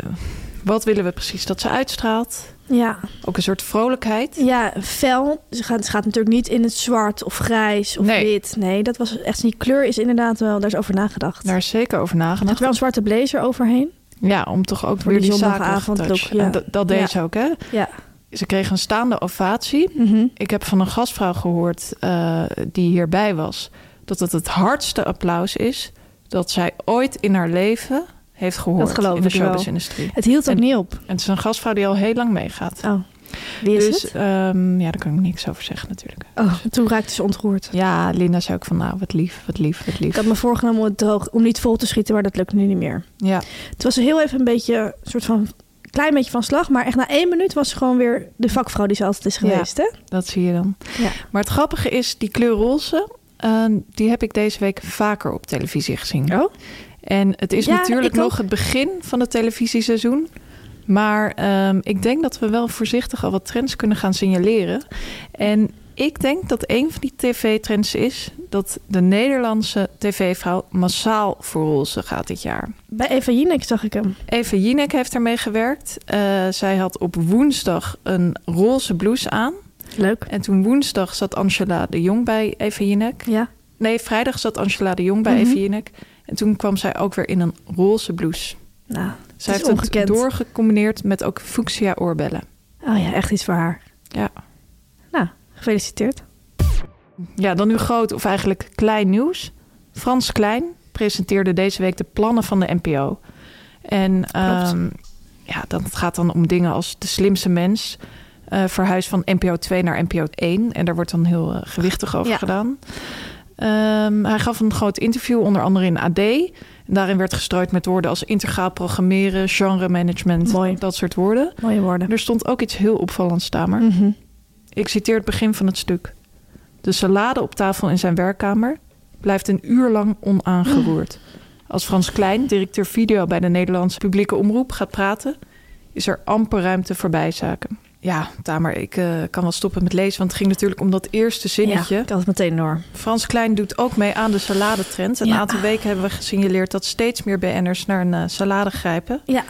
Speaker 6: wat willen we precies dat ze uitstraalt?
Speaker 5: Ja,
Speaker 6: Ook een soort vrolijkheid.
Speaker 5: ja fel. Ze gaat, ze gaat natuurlijk niet in het zwart of grijs of
Speaker 6: Nee.
Speaker 5: wit. Nee, dat was echt die kleur is inderdaad wel, daar is over nagedacht.
Speaker 6: Daar is zeker over
Speaker 5: Er zit
Speaker 6: nagedacht.
Speaker 5: wel een zwarte blazer overheen.
Speaker 6: Ja, om toch ook
Speaker 5: Voor
Speaker 6: weer
Speaker 5: die
Speaker 6: die zaken
Speaker 5: zondagavond
Speaker 6: te
Speaker 5: ook, ja.
Speaker 6: En dat, dat deed
Speaker 5: Ja.
Speaker 6: ze ook, hè?
Speaker 5: Ja.
Speaker 6: Ze kreeg een staande ovatie.
Speaker 5: Mhm.
Speaker 6: Ik heb van een gastvrouw gehoord eh, die hierbij was... dat het het hardste applaus is dat zij ooit in haar leven heeft gehoord
Speaker 5: Dat geloof
Speaker 6: in de
Speaker 5: ik wel.
Speaker 6: showbizindustrie.
Speaker 5: Het hield ook
Speaker 6: En-
Speaker 5: niet op.
Speaker 6: En het is een gastvrouw die al heel lang meegaat.
Speaker 5: Oh, wie is
Speaker 6: dus
Speaker 5: het?
Speaker 6: ehm, ja, daar kan ik niks over zeggen natuurlijk.
Speaker 5: Oh, toen raakte ze ontroerd.
Speaker 6: Ja, Linda zei ook van nou, wat lief, wat lief, wat
Speaker 5: Ik
Speaker 6: lief.
Speaker 5: had me voorgenomen om, het droog, om niet vol te schieten, maar dat lukt nu niet meer.
Speaker 6: Ja,
Speaker 5: Het was heel even een beetje een soort van klein beetje van slag, maar echt na één minuut was ze gewoon weer de vakvrouw die ze altijd is
Speaker 6: Ja.
Speaker 5: geweest, hè?
Speaker 6: dat zie je dan.
Speaker 5: Ja.
Speaker 6: Maar het grappige is, die kleur roze, eh, die heb ik deze week vaker op televisie gezien.
Speaker 5: Oh.
Speaker 6: En het is
Speaker 5: Ja,
Speaker 6: natuurlijk
Speaker 5: ik ook.
Speaker 6: nog het begin van het televisieseizoen. Maar ehm, ik denk dat we wel voorzichtig al wat trends kunnen gaan signaleren. En ik denk dat een van die tv-trends is dat de Nederlandse tv-vrouw massaal voor roze gaat dit jaar.
Speaker 5: Bij Eva Jinek zag ik hem.
Speaker 6: Eva Jinek heeft ermee gewerkt. Eh, zij had op woensdag een roze blouse aan.
Speaker 5: Leuk.
Speaker 6: En toen woensdag zat Angela de Jong bij Eva Jinek.
Speaker 5: Ja.
Speaker 6: Nee, vrijdag zat Angela de Jong bij
Speaker 5: Mhm.
Speaker 6: Eva Jinek. En toen kwam zij ook weer in een roze blouse.
Speaker 5: Nou,
Speaker 6: Zij
Speaker 5: is
Speaker 6: heeft
Speaker 5: ongekend.
Speaker 6: het doorgecombineerd met ook fuchsia oorbellen.
Speaker 5: oh ja, echt iets voor haar.
Speaker 6: Ja.
Speaker 5: Nou, gefeliciteerd.
Speaker 6: Ja, dan nu groot of eigenlijk klein nieuws. Frans Klein presenteerde deze week de plannen van de NPO. En ehm, ja, dat gaat dan om dingen als de slimste mens. eh verhuis van NPO 2 naar NPO 1. En daar wordt dan heel eh, gewichtig over
Speaker 5: Ja.
Speaker 6: gedaan. Ehm, hij gaf een groot interview, onder andere in AD. En daarin werd gestrooid met woorden als integraal programmeren, genre management,
Speaker 5: Mooi.
Speaker 6: dat soort woorden.
Speaker 5: Mooie woorden.
Speaker 6: Er stond ook iets heel opvallends, Tamer.
Speaker 5: Mhm.
Speaker 6: Ik citeer het begin van het stuk. De salade op tafel in zijn werkkamer blijft een uur lang onaangeroerd. Als Frans Klein, directeur video bij de Nederlandse publieke omroep, gaat praten, is er amper ruimte voor bijzaken. Ja, Tamer, ik eh, kan wel stoppen met lezen, want het ging natuurlijk om dat eerste zinnetje.
Speaker 5: Ja, ik had het meteen door.
Speaker 6: Frans Klein doet ook mee aan de saladetrend. Een
Speaker 5: Ja.
Speaker 6: aantal weken hebben we gesignaleerd dat steeds meer BN'ers naar een eh, salade grijpen.
Speaker 5: Ja,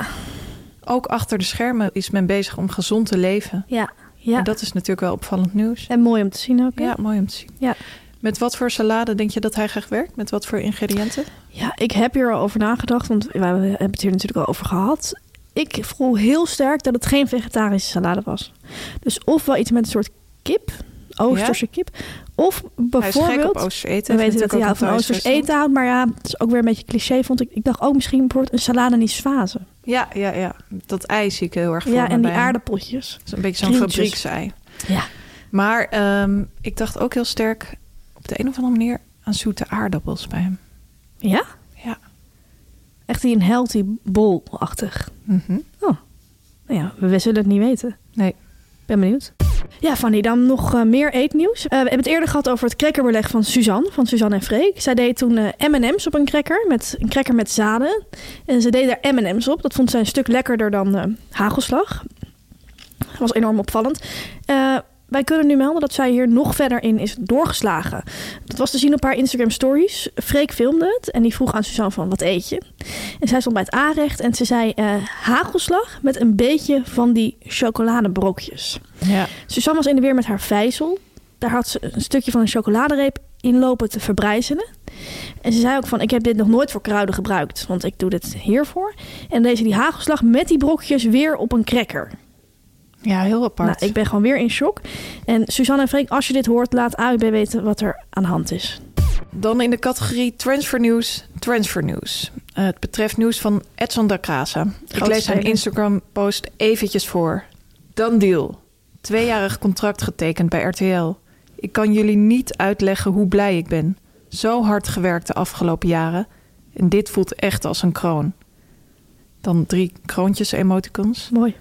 Speaker 6: Ook achter de schermen is men bezig om gezond te leven.
Speaker 5: ja, ja.
Speaker 6: En
Speaker 5: En,
Speaker 6: dat is natuurlijk wel opvallend nieuws.
Speaker 5: mooi om te zien ook. hè?
Speaker 6: Ja, mooi om te zien.
Speaker 5: Ja.
Speaker 6: Met wat voor salade denk je dat hij graag werkt? Met wat voor ingrediënten?
Speaker 5: Ja, ik heb hier al over nagedacht, want we hebben het hier natuurlijk al over gehad. Ik voel heel sterk dat het geen vegetarische salade was. Dus of wel iets met een soort kip, Oosterse kip. Of
Speaker 6: hij is gek
Speaker 5: bijvoorbeeld,
Speaker 6: op Oosters eten.
Speaker 5: we
Speaker 6: Hij heeft
Speaker 5: weten dat hij
Speaker 6: natuurlijk
Speaker 5: ja,
Speaker 6: ook
Speaker 5: van
Speaker 6: een
Speaker 5: Oosters
Speaker 6: thuisrestaurant.
Speaker 5: eten houdt, maar ja, het is ook weer een beetje cliché, vond ik. Ik dacht ook misschien bijvoorbeeld een salade nisvaze.
Speaker 6: Ja, ja, ja. Dat ei zie ik heel erg voor
Speaker 5: Ja,
Speaker 6: me
Speaker 5: en die
Speaker 6: bij hem.
Speaker 5: aardappeltjes.
Speaker 6: Dat is een beetje zo'n
Speaker 5: krieltjes.
Speaker 6: fabrieksei.
Speaker 5: Ja.
Speaker 6: Maar ehm, ik dacht ook heel sterk op de een of andere manier aan zoete aardappels bij hem.
Speaker 5: Ja?
Speaker 6: Ja.
Speaker 5: Echt die een healthy bowl-achtig.
Speaker 6: Mhm.
Speaker 5: Nou ja, we zullen het niet weten.
Speaker 6: Nee.
Speaker 5: Ben benieuwd. Ja, Fanny, dan nog eh, meer eetnieuws. Eh, we hebben het eerder gehad over het crackerbeleg van Suzanne, van Suzanne en Freek. Zij deed toen eh, M&M's op een cracker, met, een cracker met zaden. En ze deed daar M&M's op. Dat vond zij een stuk lekkerder dan eh, hagelslag. Dat was enorm opvallend. Eh, wij kunnen nu melden dat zij hier nog verder in is doorgeslagen. Dat was te zien op haar Instagram stories. Freek filmde het en die vroeg aan Suzanne van wat eet je? En zij stond bij het aanrecht en ze zei eh, hagelslag met een beetje van die chocoladebrokjes.
Speaker 6: Ja.
Speaker 5: Suzanne was in de weer met haar vijzel. Daar had ze een stukje van een chocoladereep in lopen te verbrijzelen. En ze zei ook van, ik heb dit nog nooit voor kruiden gebruikt. Want ik doe dit hiervoor. En deze die hagelslag met die brokjes weer op een cracker.
Speaker 6: ja, heel apart.
Speaker 5: Nou, ik ben gewoon weer in shock. En Suzanne en Freek, als je dit hoort, laat AUB weten wat er aan de hand is.
Speaker 6: Dan in de categorie transfernieuws, transfernieuws. Eh, het betreft nieuws van Edson da Casa. Ik
Speaker 5: Grote
Speaker 6: lees zijn
Speaker 5: speler.
Speaker 6: Instagram-post eventjes voor. Dan deal. Tweejarig contract getekend bij RTL. Ik kan jullie niet uitleggen hoe blij ik ben. Zo hard gewerkt de afgelopen jaren. En dit voelt echt als een kroon. Dan drie kroontjes emoticons.
Speaker 5: Mooi.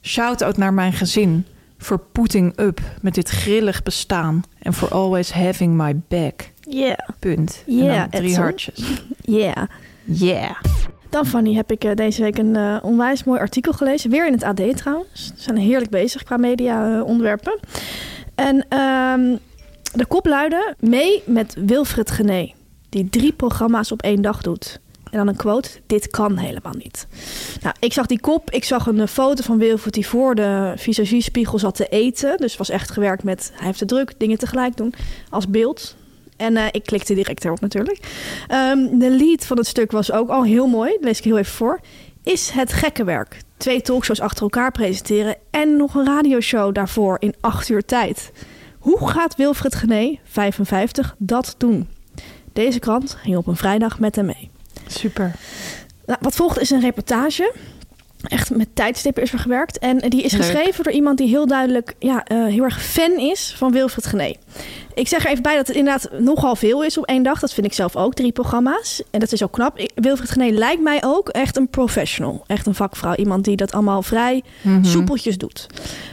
Speaker 6: Shout-out naar mijn gezin. Voor putting up met dit grillig bestaan. En for always having my back.
Speaker 5: Yeah,
Speaker 6: Punt.
Speaker 5: Ja,
Speaker 6: en dan drie
Speaker 5: Edsel.
Speaker 6: hartjes.
Speaker 5: yeah.
Speaker 6: Yeah.
Speaker 5: Dan Fanny, heb ik eh, deze week een eh, onwijs mooi artikel gelezen. Weer in het AD trouwens. Ze zijn heerlijk bezig qua media-onderwerpen. en ehm, de kop luidde mee met Wilfred Gené. Die drie programma's op één dag doet. En dan een quote, dit kan helemaal niet. Nou, ik zag die kop, ik zag een eh, foto van Wilfred die voor de visagiespiegel zat te eten. Dus was echt gewerkt met, hij heeft de druk, dingen tegelijk doen, als beeld. En eh, ik klikte direct erop natuurlijk. Ehm, de lead van het stuk was ook al heel mooi. Dat lees ik heel even voor. Is het gekke werk. Twee talkshows achter elkaar presenteren en nog een radioshow daarvoor in acht uur tijd. Hoe gaat Wilfred Gené, 55, dat doen? Deze krant ging op een vrijdag met hem mee.
Speaker 6: Super.
Speaker 5: Nou, wat volgt is een reportage. Echt met tijdstippen is er gewerkt. En die is
Speaker 6: Leuk.
Speaker 5: geschreven door iemand die heel duidelijk ja, eh, heel erg fan is van Wilfred Gené. Ik zeg er even bij dat het inderdaad nogal veel is op één dag. Dat vind ik zelf ook, drie programma's. En dat is ook knap. Ik- Wilfred Gené lijkt mij ook echt een professional. Echt een vakvrouw. Iemand die dat allemaal vrij soepeltjes doet.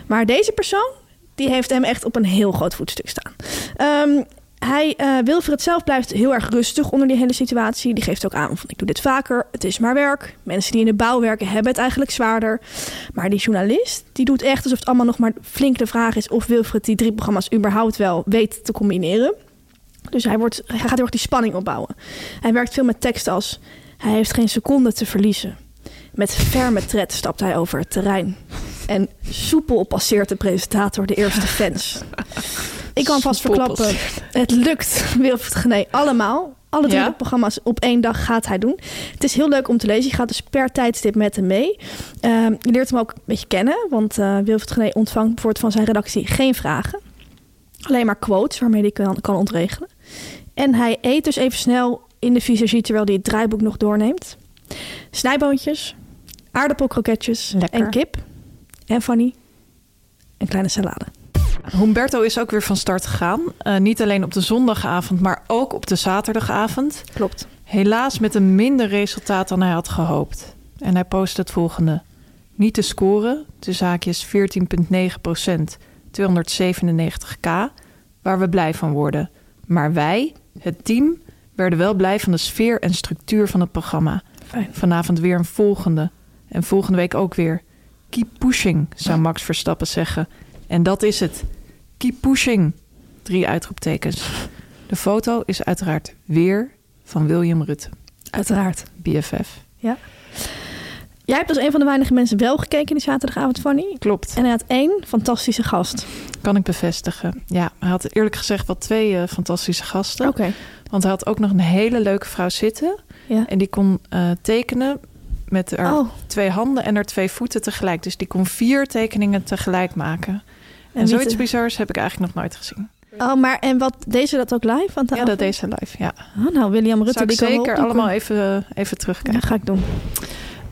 Speaker 5: Maar deze persoon, die heeft hem echt op een heel groot voetstuk staan. Ehm, hij, eh Wilfred zelf blijft heel erg rustig onder die hele situatie. Die geeft ook aan van ik doe dit vaker, het is maar werk. Mensen die in de bouw werken hebben het eigenlijk zwaarder. Maar die journalist, die doet echt alsof het allemaal nog maar flink de vraag is... of Wilfred die drie programma's überhaupt wel weet te combineren. Dus hij, wordt, hij gaat heel erg die spanning opbouwen. Hij werkt veel met tekst als... Hij heeft geen seconde te verliezen. Met ferme tred stapt hij over het terrein. En soepel passeert de presentator de eerste fans. Ik kan vast
Speaker 6: Soepel
Speaker 5: verklappen, het lukt Wilfried Gené allemaal. Alle drie
Speaker 6: Ja?
Speaker 5: de programma's op één dag gaat hij doen. Het is heel leuk om te lezen. Je gaat dus per tijdstip met hem mee. Ehm, je leert hem ook een beetje kennen. Want eh Wilfried Gené ontvangt bijvoorbeeld van zijn redactie geen vragen. Alleen maar quotes waarmee hij kan, kan ontregelen. En hij eet dus even snel in de visagie terwijl hij het draaiboek nog doorneemt. Snijboontjes, aardappelkroketjes
Speaker 1: Lekker.
Speaker 5: en kip. En Fanny, een kleine salade.
Speaker 6: Humberto is ook weer van start gegaan. Eh, niet alleen op de zondagavond, maar ook op de zaterdagavond.
Speaker 5: Klopt.
Speaker 6: Helaas met een minder resultaat dan hij had gehoopt. En hij post het volgende. Niet te scoren, de zaakjes 14,9%, 297k, waar we blij van worden. Maar wij, het team, werden wel blij van de sfeer en structuur van het programma.
Speaker 5: Fijn.
Speaker 6: Vanavond weer een volgende. En volgende week ook weer. Keep pushing, zou Max Verstappen zeggen. En dat is het. Keep pushing. Drie uitroeptekens. De foto is uiteraard weer van William Rutte,
Speaker 5: Uiteraard.
Speaker 6: BFF.
Speaker 5: Jij hebt als een van de weinige mensen wel gekeken die zaterdagavond, Fanny.
Speaker 6: Klopt,
Speaker 5: En hij had één fantastische gast.
Speaker 6: kan ik bevestigen. Ja, hij had eerlijk gezegd wel twee eh, fantastische gasten. Want hij had ook nog een hele leuke vrouw zitten.
Speaker 5: Ja.
Speaker 6: En die kon eh, tekenen met haar
Speaker 5: Oh,
Speaker 6: twee handen en haar twee voeten tegelijk. Dus die kon vier tekeningen tegelijk maken. En,
Speaker 5: wie
Speaker 6: zoiets
Speaker 5: te-
Speaker 6: bizars heb ik eigenlijk nog nooit gezien.
Speaker 5: oh, maar en wat deed ze dat ook live? Want
Speaker 6: Ja, dat deed ze live. Ja.
Speaker 5: Oh, nou, William Rutte,
Speaker 6: Zou ik
Speaker 5: die kan wel
Speaker 6: zeker
Speaker 5: opdoeken.
Speaker 6: allemaal even, even
Speaker 5: Ja,
Speaker 6: terugkijken.
Speaker 5: ga ik doen.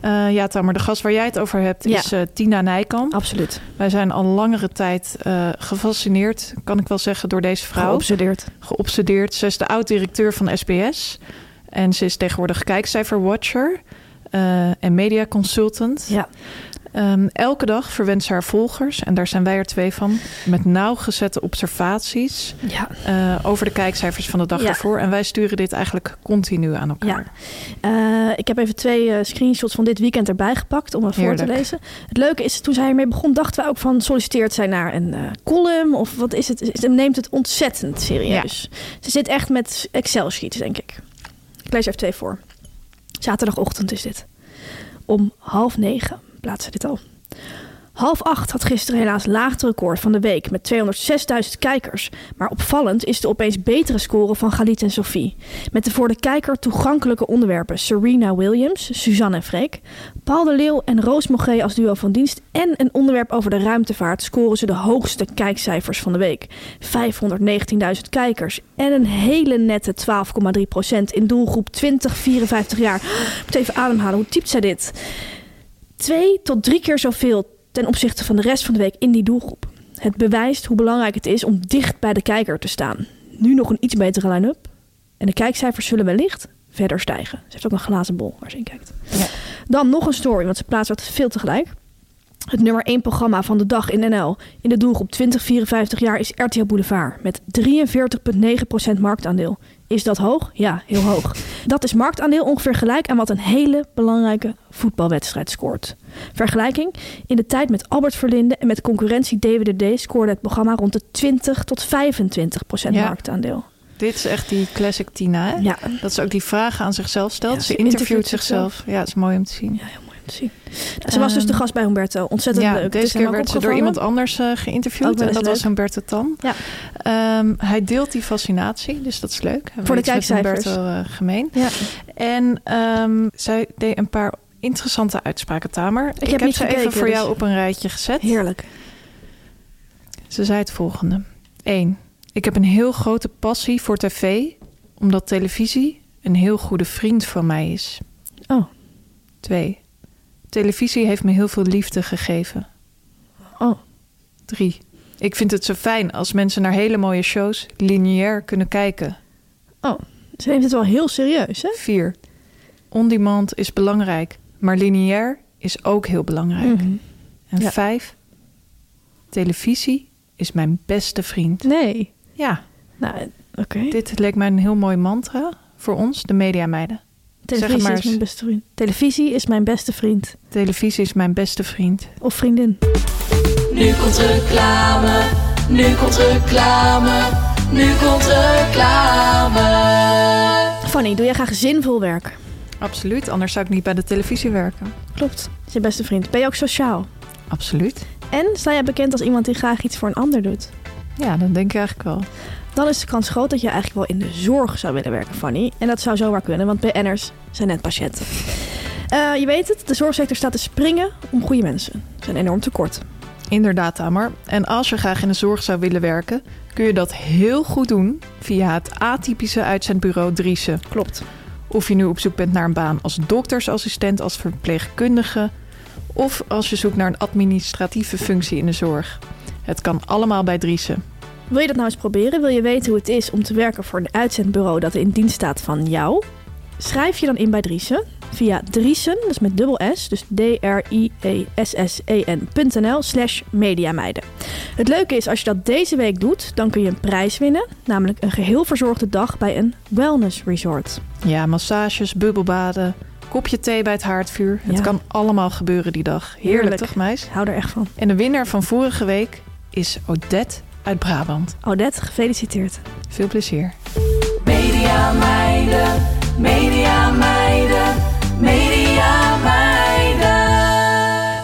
Speaker 6: Eh, ja, Tamer, de gast waar jij het over hebt
Speaker 5: Ja. Oh.
Speaker 6: is eh, Tina Nijkamp.
Speaker 5: Absoluut.
Speaker 6: Wij zijn al langere tijd eh, gefascineerd, kan ik wel zeggen, door deze vrouw.
Speaker 5: Geobsedeerd.
Speaker 6: Geobsedeerd. Ze is de oud-directeur van SBS. En ze is tegenwoordig kijkcijferwatcher eh en mediaconsultant.
Speaker 5: Ja.
Speaker 6: Ehm, elke dag verwenst ze haar volgers, en daar zijn wij er twee van, met nauwgezette observaties
Speaker 5: Ja.
Speaker 6: eh, over de kijkcijfers van de dag
Speaker 5: Ja.
Speaker 6: ervoor. En wij sturen dit eigenlijk continu aan elkaar.
Speaker 5: Eh, ik heb even twee eh, screenshots van dit weekend erbij gepakt om er voor te
Speaker 6: Heerlijk.
Speaker 5: lezen. Het leuke is, toen zij ermee begon, dachten wij ook van solliciteert zij naar een eh, column of wat is het? Ze neemt het ontzettend serieus. Ze zit echt met Excel-sheets, denk ik. Ik lees even twee voor. Zaterdagochtend is dit. Om half negen plaatsen dit al. Half acht had gisteren helaas laagste record van de week met 206.000 kijkers. Maar opvallend is de opeens betere score van Galit en Sophie. Met de voor de kijker toegankelijke onderwerpen Serena Williams, Suzanne en Freek, Paul de Leeuw en Roos Mogré als duo van dienst en een onderwerp over de ruimtevaart scoren ze de hoogste kijkcijfers van de week. 519.000 kijkers en een hele nette 12,3% in doelgroep 20-54 jaar. Ik moet even ademhalen, hoe typt zij dit? twee tot drie keer zoveel ten opzichte van de rest van de week in die doelgroep. Het bewijst hoe belangrijk het is om dicht bij de kijker te staan. Nu nog een iets betere line-up. En de kijkcijfers zullen wellicht verder stijgen. Ze heeft ook een glazen bol waar ze in kijkt. Dan nog een story, want ze plaatst wat veel tegelijk. Het nummer 1 programma van de dag in NL in de doelgroep 20-54 jaar is RTL Boulevard met 43,9% marktaandeel. Is dat hoog? Ja, heel hoog. Dat is marktaandeel ongeveer gelijk aan wat een hele belangrijke voetbalwedstrijd scoort. Vergelijking, in de tijd met Albert Verlinde en met concurrentie DWDD scoorde het programma rond de 20 tot 25 procent
Speaker 6: Ja. Eh,
Speaker 5: marktaandeel.
Speaker 6: Dit is echt die classic Tina, hè?
Speaker 5: Ja,
Speaker 6: Dat ze ook die vragen aan zichzelf stelt.
Speaker 5: Ja,
Speaker 6: ze
Speaker 5: ze
Speaker 6: interviewt,
Speaker 5: interviewt
Speaker 6: zichzelf. Ja, het is mooi om te zien.
Speaker 5: ja heel mooi om te zien. Ze was dus de gast bij Humberto. Ontzettend leuk.
Speaker 6: Ja,
Speaker 5: Het is
Speaker 6: deze
Speaker 5: hem
Speaker 6: keer
Speaker 5: ook
Speaker 6: werd ze door
Speaker 5: opgevallen.
Speaker 6: iemand anders eh,
Speaker 5: Ook
Speaker 6: geïnterviewd.
Speaker 5: wel
Speaker 6: En
Speaker 5: eens
Speaker 6: dat was
Speaker 5: leuk.
Speaker 6: Humberto Tan.
Speaker 5: Ja.
Speaker 6: Ehm, hij deelt die fascinatie, dus dat is leuk. Hij
Speaker 5: Voor de
Speaker 6: heeft iets met
Speaker 5: kijkcijfers.
Speaker 6: Humberto eh, gemeen.
Speaker 5: Ja.
Speaker 6: En ehm, zij deed een paar interessante uitspraken, Tamer. Ik,
Speaker 5: heb niet
Speaker 6: ze even
Speaker 5: gekeken,
Speaker 6: voor
Speaker 5: dus-
Speaker 6: jou op een rijtje gezet.
Speaker 5: Heerlijk.
Speaker 6: Ze zei het volgende. 1. Ik heb een heel grote passie voor tv, omdat televisie een heel goede vriend van mij is.
Speaker 5: Oh.
Speaker 6: 2. Televisie heeft me heel veel liefde gegeven.
Speaker 5: Oh.
Speaker 6: 3. Ik vind het zo fijn als mensen naar hele mooie shows lineair kunnen kijken.
Speaker 5: oh. Ze neemt het wel heel serieus, hè?
Speaker 6: 4. On-demand is belangrijk, maar lineair is ook heel belangrijk. En
Speaker 5: Mm, Ja.
Speaker 6: 5. Televisie is mijn beste vriend.
Speaker 5: Nee.
Speaker 6: Ja.
Speaker 5: Nou, oké.
Speaker 6: Dit leek mij een heel mooi mantra voor ons, de mediameiden.
Speaker 5: Televisie
Speaker 6: maar
Speaker 5: is
Speaker 6: eens.
Speaker 5: mijn beste vriend. Televisie is mijn beste vriend.
Speaker 6: Televisie is mijn beste vriend.
Speaker 5: Of vriendin.
Speaker 7: Nu komt reclame, nu komt reclame, nu komt reclame.
Speaker 5: Fanny, doe jij graag zinvol werk?
Speaker 6: Absoluut, anders zou ik niet bij de televisie werken.
Speaker 5: Klopt. Is je beste vriend. Ben je ook sociaal?
Speaker 6: absoluut.
Speaker 5: En sta jij bekend als iemand die graag iets voor een ander doet?
Speaker 6: Ja, dat denk ik eigenlijk wel.
Speaker 5: Dan is de kans groot dat je eigenlijk wel in de zorg zou willen werken, Fanny. En dat zou zomaar kunnen, want BN'ers zijn net patiënten. Eh, je weet het, de zorgsector staat te springen om goede mensen. Er zijn enorm tekort.
Speaker 6: Inderdaad, Tamer. En als je graag in de zorg zou willen werken, kun je dat heel goed doen via het atypische uitzendbureau Driessen.
Speaker 5: Klopt.
Speaker 6: Of je nu op zoek bent naar een baan als doktersassistent, als verpleegkundige of als je zoekt naar een administratieve functie in de zorg. Het kan allemaal bij Driessen.
Speaker 5: Wil je dat nou eens proberen? Wil je weten hoe het is om te werken voor een uitzendbureau dat in dienst staat van jou? Schrijf je dan in bij Driessen via Driessen, dat is met dubbel S, dus E D-R-I-E-S-S-E-N.nl slash mediameiden. Het leuke is, als je dat deze week doet, dan kun je een prijs winnen, namelijk een geheel verzorgde dag bij een wellness resort.
Speaker 6: Ja, massages, bubbelbaden, kopje thee bij het haardvuur. Het
Speaker 5: Ja.
Speaker 6: kan allemaal gebeuren die dag. Heerlijk,
Speaker 5: Heerlijk.
Speaker 6: toch, meis?
Speaker 5: Ik hou er echt van.
Speaker 6: En de winnaar van vorige week is Odette uit Brabant.
Speaker 5: Odette, gefeliciteerd.
Speaker 6: Veel plezier.
Speaker 7: Media meiden, media meiden, media meiden.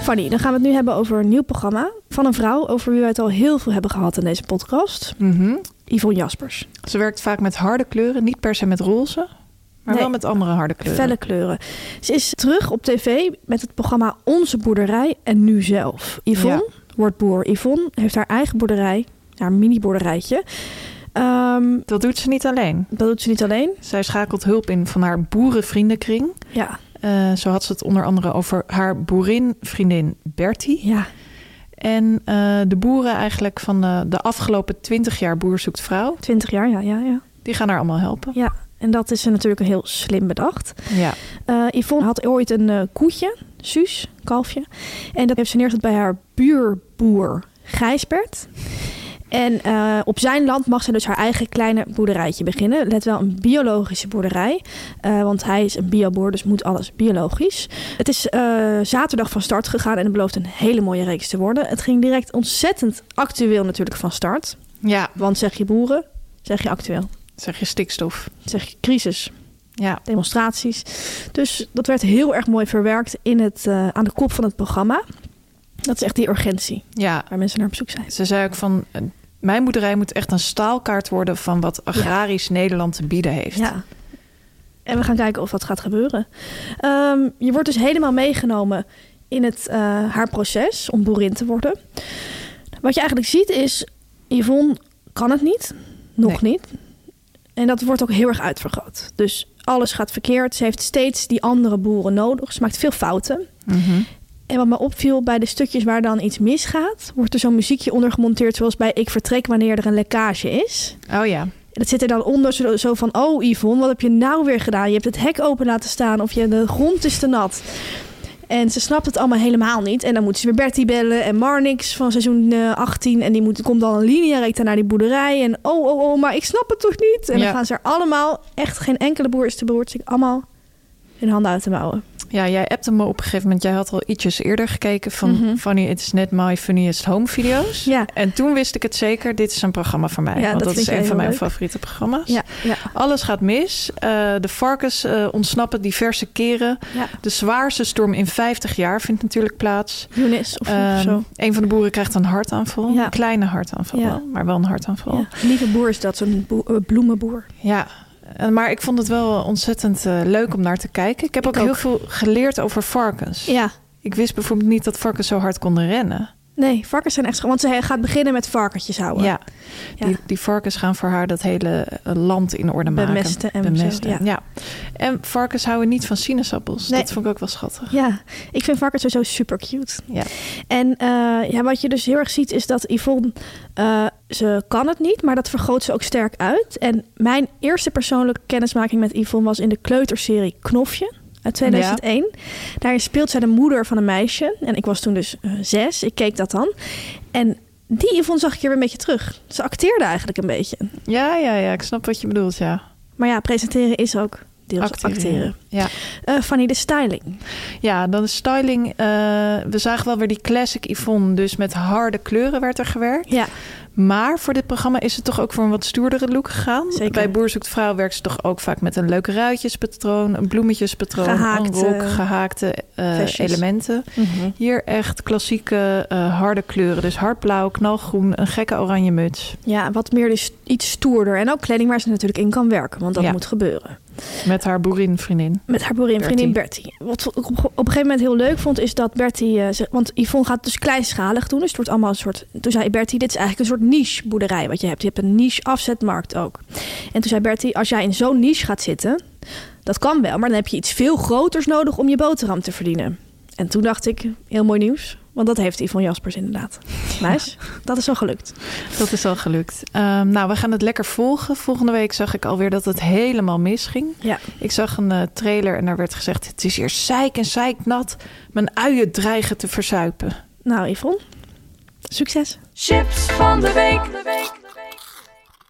Speaker 5: Fanny, dan gaan we het nu hebben over een nieuw programma van een vrouw over wie wij het al heel veel hebben gehad in deze podcast.
Speaker 6: Mhm.
Speaker 5: Yvonne Jaspers.
Speaker 6: Ze werkt vaak met harde kleuren, niet per se met roze, maar
Speaker 5: Nee.
Speaker 6: wel met andere harde kleuren.
Speaker 5: Felle kleuren. Ze is terug op tv met het programma Onze Boerderij en Nu Zelf. Yvonne wordt boer. Yvonne heeft haar eigen boerderij, haar mini-boerderijtje. Ehm,
Speaker 6: Dat doet ze niet alleen.
Speaker 5: dat doet ze niet alleen.
Speaker 6: Zij schakelt hulp in van haar boerenvriendenkring.
Speaker 5: Ja,
Speaker 6: Eh, zo had ze het onder andere over haar boerin-vriendin Bertie.
Speaker 5: ja.
Speaker 6: En eh, de boeren eigenlijk van eh, de afgelopen twintig jaar Boer Zoekt Vrouw.
Speaker 5: 20 jaar, ja, ja, ja.
Speaker 6: Die gaan haar allemaal helpen.
Speaker 5: ja. En dat is natuurlijk heel slim bedacht.
Speaker 6: Ja.
Speaker 5: Eh, Yvonne had ooit een eh, koetje, Suus, kalfje. En dat heeft ze neergezet bij haar buurboer Gijsbert. En eh, op zijn land mag ze dus haar eigen kleine boerderijtje beginnen. Let wel, een biologische boerderij. eh, want hij is een bioboer, dus moet alles biologisch. Het is eh, zaterdag van start gegaan en het belooft een hele mooie reeks te worden. Het ging direct ontzettend actueel natuurlijk van start.
Speaker 6: ja,
Speaker 5: Want zeg je boeren, zeg je actueel.
Speaker 6: zeg je stikstof.
Speaker 5: Zeg je crisis,
Speaker 6: Ja,
Speaker 5: demonstraties. Dus dat werd heel erg mooi verwerkt in het, eh, aan de kop van het programma. Dat is echt die urgentie
Speaker 6: ja.
Speaker 5: waar mensen naar op zoek zijn.
Speaker 6: Ze zei ook van, eh, mijn boerderij moet echt een staalkaart worden van wat agrarisch Nederland te bieden heeft.
Speaker 5: Ja. En we gaan kijken of dat gaat gebeuren. Ehm, je wordt dus helemaal meegenomen in het, eh, haar proces om boerin te worden. Wat je eigenlijk ziet is, Yvonne kan het niet. Nog niet. En dat wordt ook heel erg uitvergroot. Dus alles gaat verkeerd. Ze heeft steeds die andere boeren nodig. Ze maakt veel fouten.
Speaker 6: Mhm.
Speaker 5: En wat me opviel bij de stukjes waar dan iets misgaat, wordt er zo'n muziekje onder gemonteerd, zoals bij Ik vertrek wanneer er een lekkage is.
Speaker 6: Oh ja,
Speaker 5: En Dat zit er dan onder, zo, zo van: Oh, Yvonne, wat heb je nou weer gedaan? Je hebt het hek open laten staan of je, de grond is te nat. En ze snapt het allemaal helemaal niet. En dan moet ze weer Bertie bellen en Marnix van seizoen eh, 18. En die moet, komt dan een linearekte naar die boerderij. En oh, oh, oh, maar ik snap het toch niet? En
Speaker 6: Ja.
Speaker 5: dan gaan ze er allemaal, echt geen enkele boer is te beroerd, zich allemaal hun handen uit de mouwen.
Speaker 6: Ja, jij appte me op een gegeven moment. Jij had al ietsjes eerder gekeken van
Speaker 5: Mhm.
Speaker 6: Funny It's Net My Funniest Home video's.
Speaker 5: Ja.
Speaker 6: En toen wist ik het zeker, dit is een programma voor mij.
Speaker 5: Ja,
Speaker 6: want
Speaker 5: dat
Speaker 6: dat,
Speaker 5: vind
Speaker 6: is
Speaker 5: jij
Speaker 6: een van
Speaker 5: heel
Speaker 6: mijn
Speaker 5: leuk.
Speaker 6: favoriete programma's.
Speaker 5: Ja, ja.
Speaker 6: Alles gaat mis. Eh, de varkens eh, ontsnappen diverse keren.
Speaker 5: Ja.
Speaker 6: De zwaarste storm in 50 jaar vindt natuurlijk plaats.
Speaker 5: Younes of, of
Speaker 6: Ehm,
Speaker 5: zo.
Speaker 6: Een van de boeren krijgt een hartaanval.
Speaker 5: Ja.
Speaker 6: Een kleine hartaanval
Speaker 5: Ja.
Speaker 6: wel, maar wel een hartaanval.
Speaker 5: Ja. Lieve boer is dat, zo'n boe- eh, bloemenboer.
Speaker 6: Ja, eh, maar ik vond het wel ontzettend eh, leuk om naar te kijken. Ik heb ook,
Speaker 5: ook.
Speaker 6: heel veel geleerd over varkens.
Speaker 5: Ja.
Speaker 6: Ik wist bijvoorbeeld niet dat varkens zo hard konden rennen.
Speaker 5: Nee, varkens zijn echt... scha- Want ze gaat beginnen met varkentjes houden.
Speaker 6: Ja.
Speaker 5: Ja.
Speaker 6: Die, die varkens gaan voor haar dat hele eh, land in orde maken.
Speaker 5: Bemesten en zo, ja.
Speaker 6: En varkens houden niet van sinaasappels.
Speaker 5: Nee.
Speaker 6: Dat vond ik ook wel schattig.
Speaker 5: Ja, ik vind varkens sowieso super cute.
Speaker 6: Ja.
Speaker 5: En eh, ja, wat je dus heel erg ziet is dat Yvonne, eh, ze kan het niet, maar dat vergroot ze ook sterk uit. En mijn eerste persoonlijke kennismaking met Yvonne was in de kleuterserie Knofje uit 2001. Daarin speelt zij de moeder van een meisje. En ik was toen dus eh, zes, ik keek dat dan. En die Yvonne zag ik hier weer een beetje terug. Ze acteerde eigenlijk een beetje.
Speaker 6: Ja, ja, ja. Ik snap wat je bedoelt, ja.
Speaker 5: Maar ja, presenteren is ook deels acteren.
Speaker 6: Ja.
Speaker 5: Eh, Fanny, de styling.
Speaker 6: ja, dan is styling. eh, we zagen wel weer die classic Yvonne. Dus met harde kleuren werd er gewerkt.
Speaker 5: Ja,
Speaker 6: Maar voor dit programma is het toch ook voor een wat stoerdere look gegaan.
Speaker 5: Zeker.
Speaker 6: Bij Boer zoekt vrouw werkt ze toch ook vaak met een leuk ruitjespatroon, een bloemetjespatroon,
Speaker 5: Gehaakte-
Speaker 6: een rok, gehaakte eh,
Speaker 5: Vestjes. Mhm.
Speaker 6: elementen. Hier echt klassieke eh, harde kleuren. Dus hardblauw, knalgroen, een gekke oranje muts.
Speaker 5: Ja, wat meer dus iets stoerder. En ook kleding waar ze natuurlijk in kan werken, want dat
Speaker 6: Ja.
Speaker 5: moet gebeuren.
Speaker 6: Met haar boerinvriendin.
Speaker 5: Met haar boerinvriendin Bertie. Wat ik op, op een gegeven moment heel leuk vond, is dat Bertie... eh, ze- want Yvonne gaat dus kleinschalig doen. Dus het wordt allemaal een soort... Toen zei Bertie, dit is eigenlijk een soort niche boerderij wat je hebt. Je hebt een niche afzetmarkt ook. En toen zei Bertie, als jij in zo'n niche gaat zitten... Dat kan wel, maar dan heb je iets veel groters nodig om je boterham te verdienen. En toen dacht ik, heel mooi nieuws. Want dat heeft Yvonne Jaspers inderdaad. Meis, dat is wel gelukt.
Speaker 6: Dat is al gelukt. Ehm, nou, we gaan het lekker volgen. Volgende week zag ik alweer dat het helemaal misging.
Speaker 5: Ja.
Speaker 6: Ik zag een eh, trailer en daar werd gezegd... het is hier zeik en zeiknat. Mijn uien dreigen te verzuipen.
Speaker 5: Nou Yvonne, succes.
Speaker 7: Chips van de week.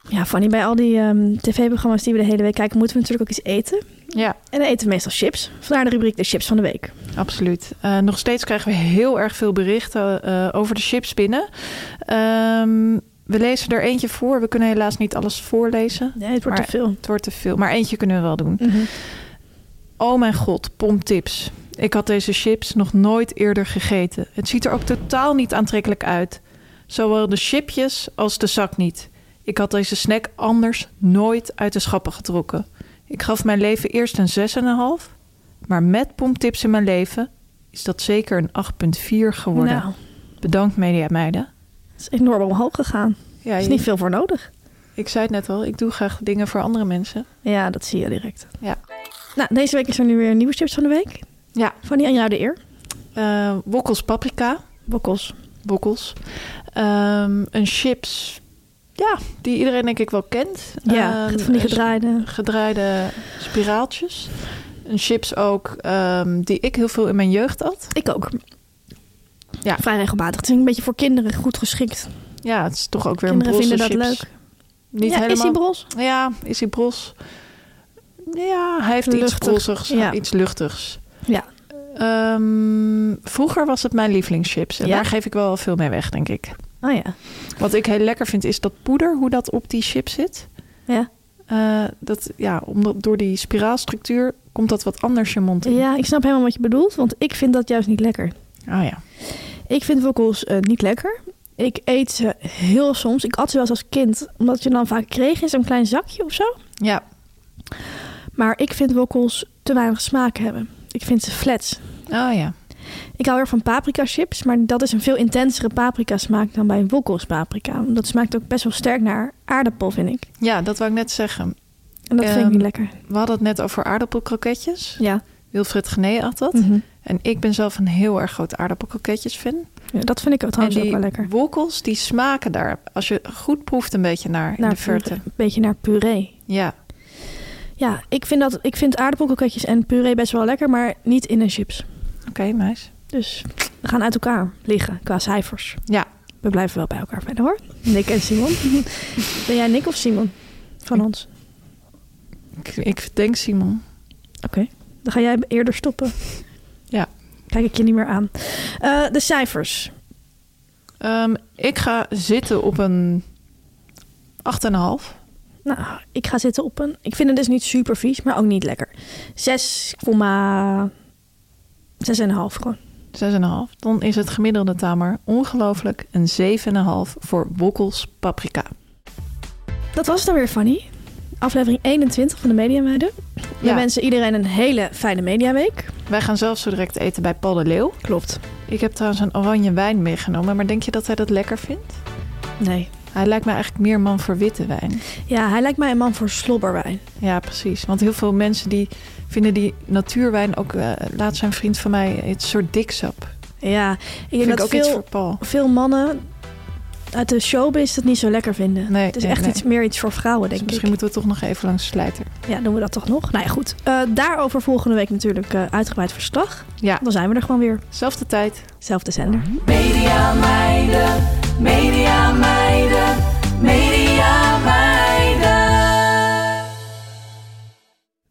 Speaker 5: Ja, Fanny, bij al die ehm, tv-programma's die we de hele week kijken, moeten we natuurlijk ook iets eten.
Speaker 6: Ja,
Speaker 5: En dan eten we meestal chips. Vandaar de rubriek de chips van de week.
Speaker 6: absoluut. Eh, nog steeds krijgen we heel erg veel berichten eh, over de chips binnen. Ehm, we lezen er eentje voor. We kunnen helaas niet alles voorlezen.
Speaker 5: Nee, het wordt
Speaker 6: Maar- Mhm.
Speaker 5: te veel.
Speaker 6: Het wordt te veel, maar eentje kunnen we wel doen. Oh mijn god, pomptips. Ik had deze chips nog nooit eerder gegeten. Het ziet er ook totaal niet aantrekkelijk uit. Zowel de chipjes als de zak niet. Ik had deze snack anders nooit uit de schappen getrokken. Ik gaf mijn leven eerst een 6,5. Maar met pomptips in mijn leven is dat zeker een 8,4 geworden.
Speaker 5: Nou,
Speaker 6: Bedankt media meiden.
Speaker 5: het is enorm omhoog gegaan.
Speaker 6: Ja,
Speaker 5: Er is niet veel voor nodig.
Speaker 6: ik zei het net al, ik doe graag dingen voor andere mensen.
Speaker 5: Ja, dat zie je direct.
Speaker 6: Ja.
Speaker 5: Nou, deze week is er nu weer een nieuwe chips van de week.
Speaker 6: Ja.
Speaker 5: Fanny, aan jou de eer.
Speaker 6: Eh, wokkels paprika.
Speaker 5: Bokkels.
Speaker 6: bokkels. Ehm, een chips, ja, die iedereen denk ik wel kent.
Speaker 5: Ja,
Speaker 6: Ehm,
Speaker 5: Eh, van die
Speaker 6: een
Speaker 5: gedraaide.
Speaker 6: s- gedraaide spiraaltjes. Een chips ook ehm, die ik heel veel in mijn jeugd had.
Speaker 5: Ik ook.
Speaker 6: Ja.
Speaker 5: Vrij regelmatig. Het is een beetje voor kinderen goed geschikt.
Speaker 6: Ja, het is toch ook weer
Speaker 5: Kinderen
Speaker 6: een brosse
Speaker 5: vinden dat
Speaker 6: chips.
Speaker 5: leuk.
Speaker 6: Niet
Speaker 5: ja,
Speaker 6: helemaal.
Speaker 5: is die bros?
Speaker 6: Ja, is hij bros? Ja, hij heeft iets
Speaker 5: Luchtig,
Speaker 6: brossigs,
Speaker 5: ja.
Speaker 6: iets luchtigs.
Speaker 5: Ja.
Speaker 6: Ehm, vroeger was het mijn lievelingschips. En
Speaker 5: Ja?
Speaker 6: daar geef ik wel veel mee weg, denk ik.
Speaker 5: Oh ja.
Speaker 6: Wat ik heel lekker vind is dat poeder, hoe dat op die chip zit.
Speaker 5: Ja.
Speaker 6: Eh, dat, ja, omdat door die spiraalstructuur komt dat wat anders je mond in.
Speaker 5: Ja, ik snap helemaal wat je bedoelt, want ik vind dat juist niet lekker.
Speaker 6: Ah ja.
Speaker 5: Ik vind wokkels eh, niet lekker. Ik eet ze heel soms. Ik at ze wel eens als kind, omdat je dan vaak kreeg in zo'n klein zakje of zo.
Speaker 6: Ja,
Speaker 5: Maar ik vind wokkels te weinig smaak hebben. Ik vind ze flats.
Speaker 6: ah ja.
Speaker 5: Ik hou erg van paprika chips, maar dat is een veel intensere paprika smaak dan bij wokkels paprika. Dat smaakt ook best wel sterk naar aardappel, vind ik.
Speaker 6: Ja, dat wou ik net zeggen.
Speaker 5: En dat vind ik
Speaker 6: Ehm,
Speaker 5: niet lekker.
Speaker 6: We hadden het net over aardappelkroketjes.
Speaker 5: Ja.
Speaker 6: Wilfred Gené had dat.
Speaker 5: Mhm.
Speaker 6: En ik ben zelf een heel erg groot aardappelkroketjes fan.
Speaker 5: Ja, dat vind ik ook trouwens
Speaker 6: en
Speaker 5: ook
Speaker 6: die
Speaker 5: wel lekker.
Speaker 6: wokkels, die smaken daar, als je goed proeft, een beetje naar, in
Speaker 5: Naar
Speaker 6: de verte.
Speaker 5: Een beetje naar puree.
Speaker 6: Ja,
Speaker 5: Ja, ik vind, dat, ik vind aardappelkroketjes en puree best wel lekker, maar niet in een chips.
Speaker 6: oké, meis.
Speaker 5: Dus we gaan uit elkaar liggen qua cijfers.
Speaker 6: Ja,
Speaker 5: We blijven wel bij elkaar verder hoor. Nick en Simon. ben jij Nick of Simon van ons?
Speaker 6: ik, ik denk Simon.
Speaker 5: Oké. Dan ga jij eerder stoppen.
Speaker 6: Ja.
Speaker 5: Kijk ik je niet meer aan. Eh, de cijfers.
Speaker 6: Ehm, ik ga zitten op een 8,5.
Speaker 5: Nou, ik ga zitten op een... Ik vind het dus niet super vies, maar ook niet lekker. 6,6,5 gewoon.
Speaker 6: 6,5. Dan is het gemiddelde tamer ongelooflijk een 7,5 voor wokkels paprika.
Speaker 5: Dat was het dan weer, Fanny. Aflevering 21 van de Mediameiden. We
Speaker 6: Ja.
Speaker 5: wensen iedereen een hele fijne Mediaweek.
Speaker 6: Wij gaan zelf zo direct eten bij Paul de Leeuw.
Speaker 5: Klopt.
Speaker 6: Ik heb trouwens een oranje wijn meegenomen, maar denk je dat hij dat lekker vindt?
Speaker 5: Nee.
Speaker 6: Hij lijkt me eigenlijk meer man voor witte wijn.
Speaker 5: Ja, hij lijkt mij een man voor slobberwijn.
Speaker 6: Ja, precies. Want heel veel mensen die vinden die natuurwijn ook... eh, laat zijn vriend van mij het soort diksap.
Speaker 5: Ja, ik denk
Speaker 6: Vind ik
Speaker 5: dat
Speaker 6: ook iets voor
Speaker 5: veel,
Speaker 6: Paul.
Speaker 5: veel mannen uit de showbiz dat niet zo lekker vinden.
Speaker 6: Nee,
Speaker 5: het is
Speaker 6: nee,
Speaker 5: echt
Speaker 6: nee.
Speaker 5: iets meer iets voor vrouwen,
Speaker 6: Dus
Speaker 5: denk
Speaker 6: misschien
Speaker 5: ik.
Speaker 6: moeten we toch nog even langs de slijter.
Speaker 5: Ja, doen we dat toch nog? Nou ja, goed. Eh, daarover volgende week natuurlijk eh, uitgebreid verslag.
Speaker 6: Ja,
Speaker 5: Dan zijn we er gewoon weer.
Speaker 6: zelfde tijd.
Speaker 5: Zelfde zender.
Speaker 7: Media meiden, media meiden, media meiden.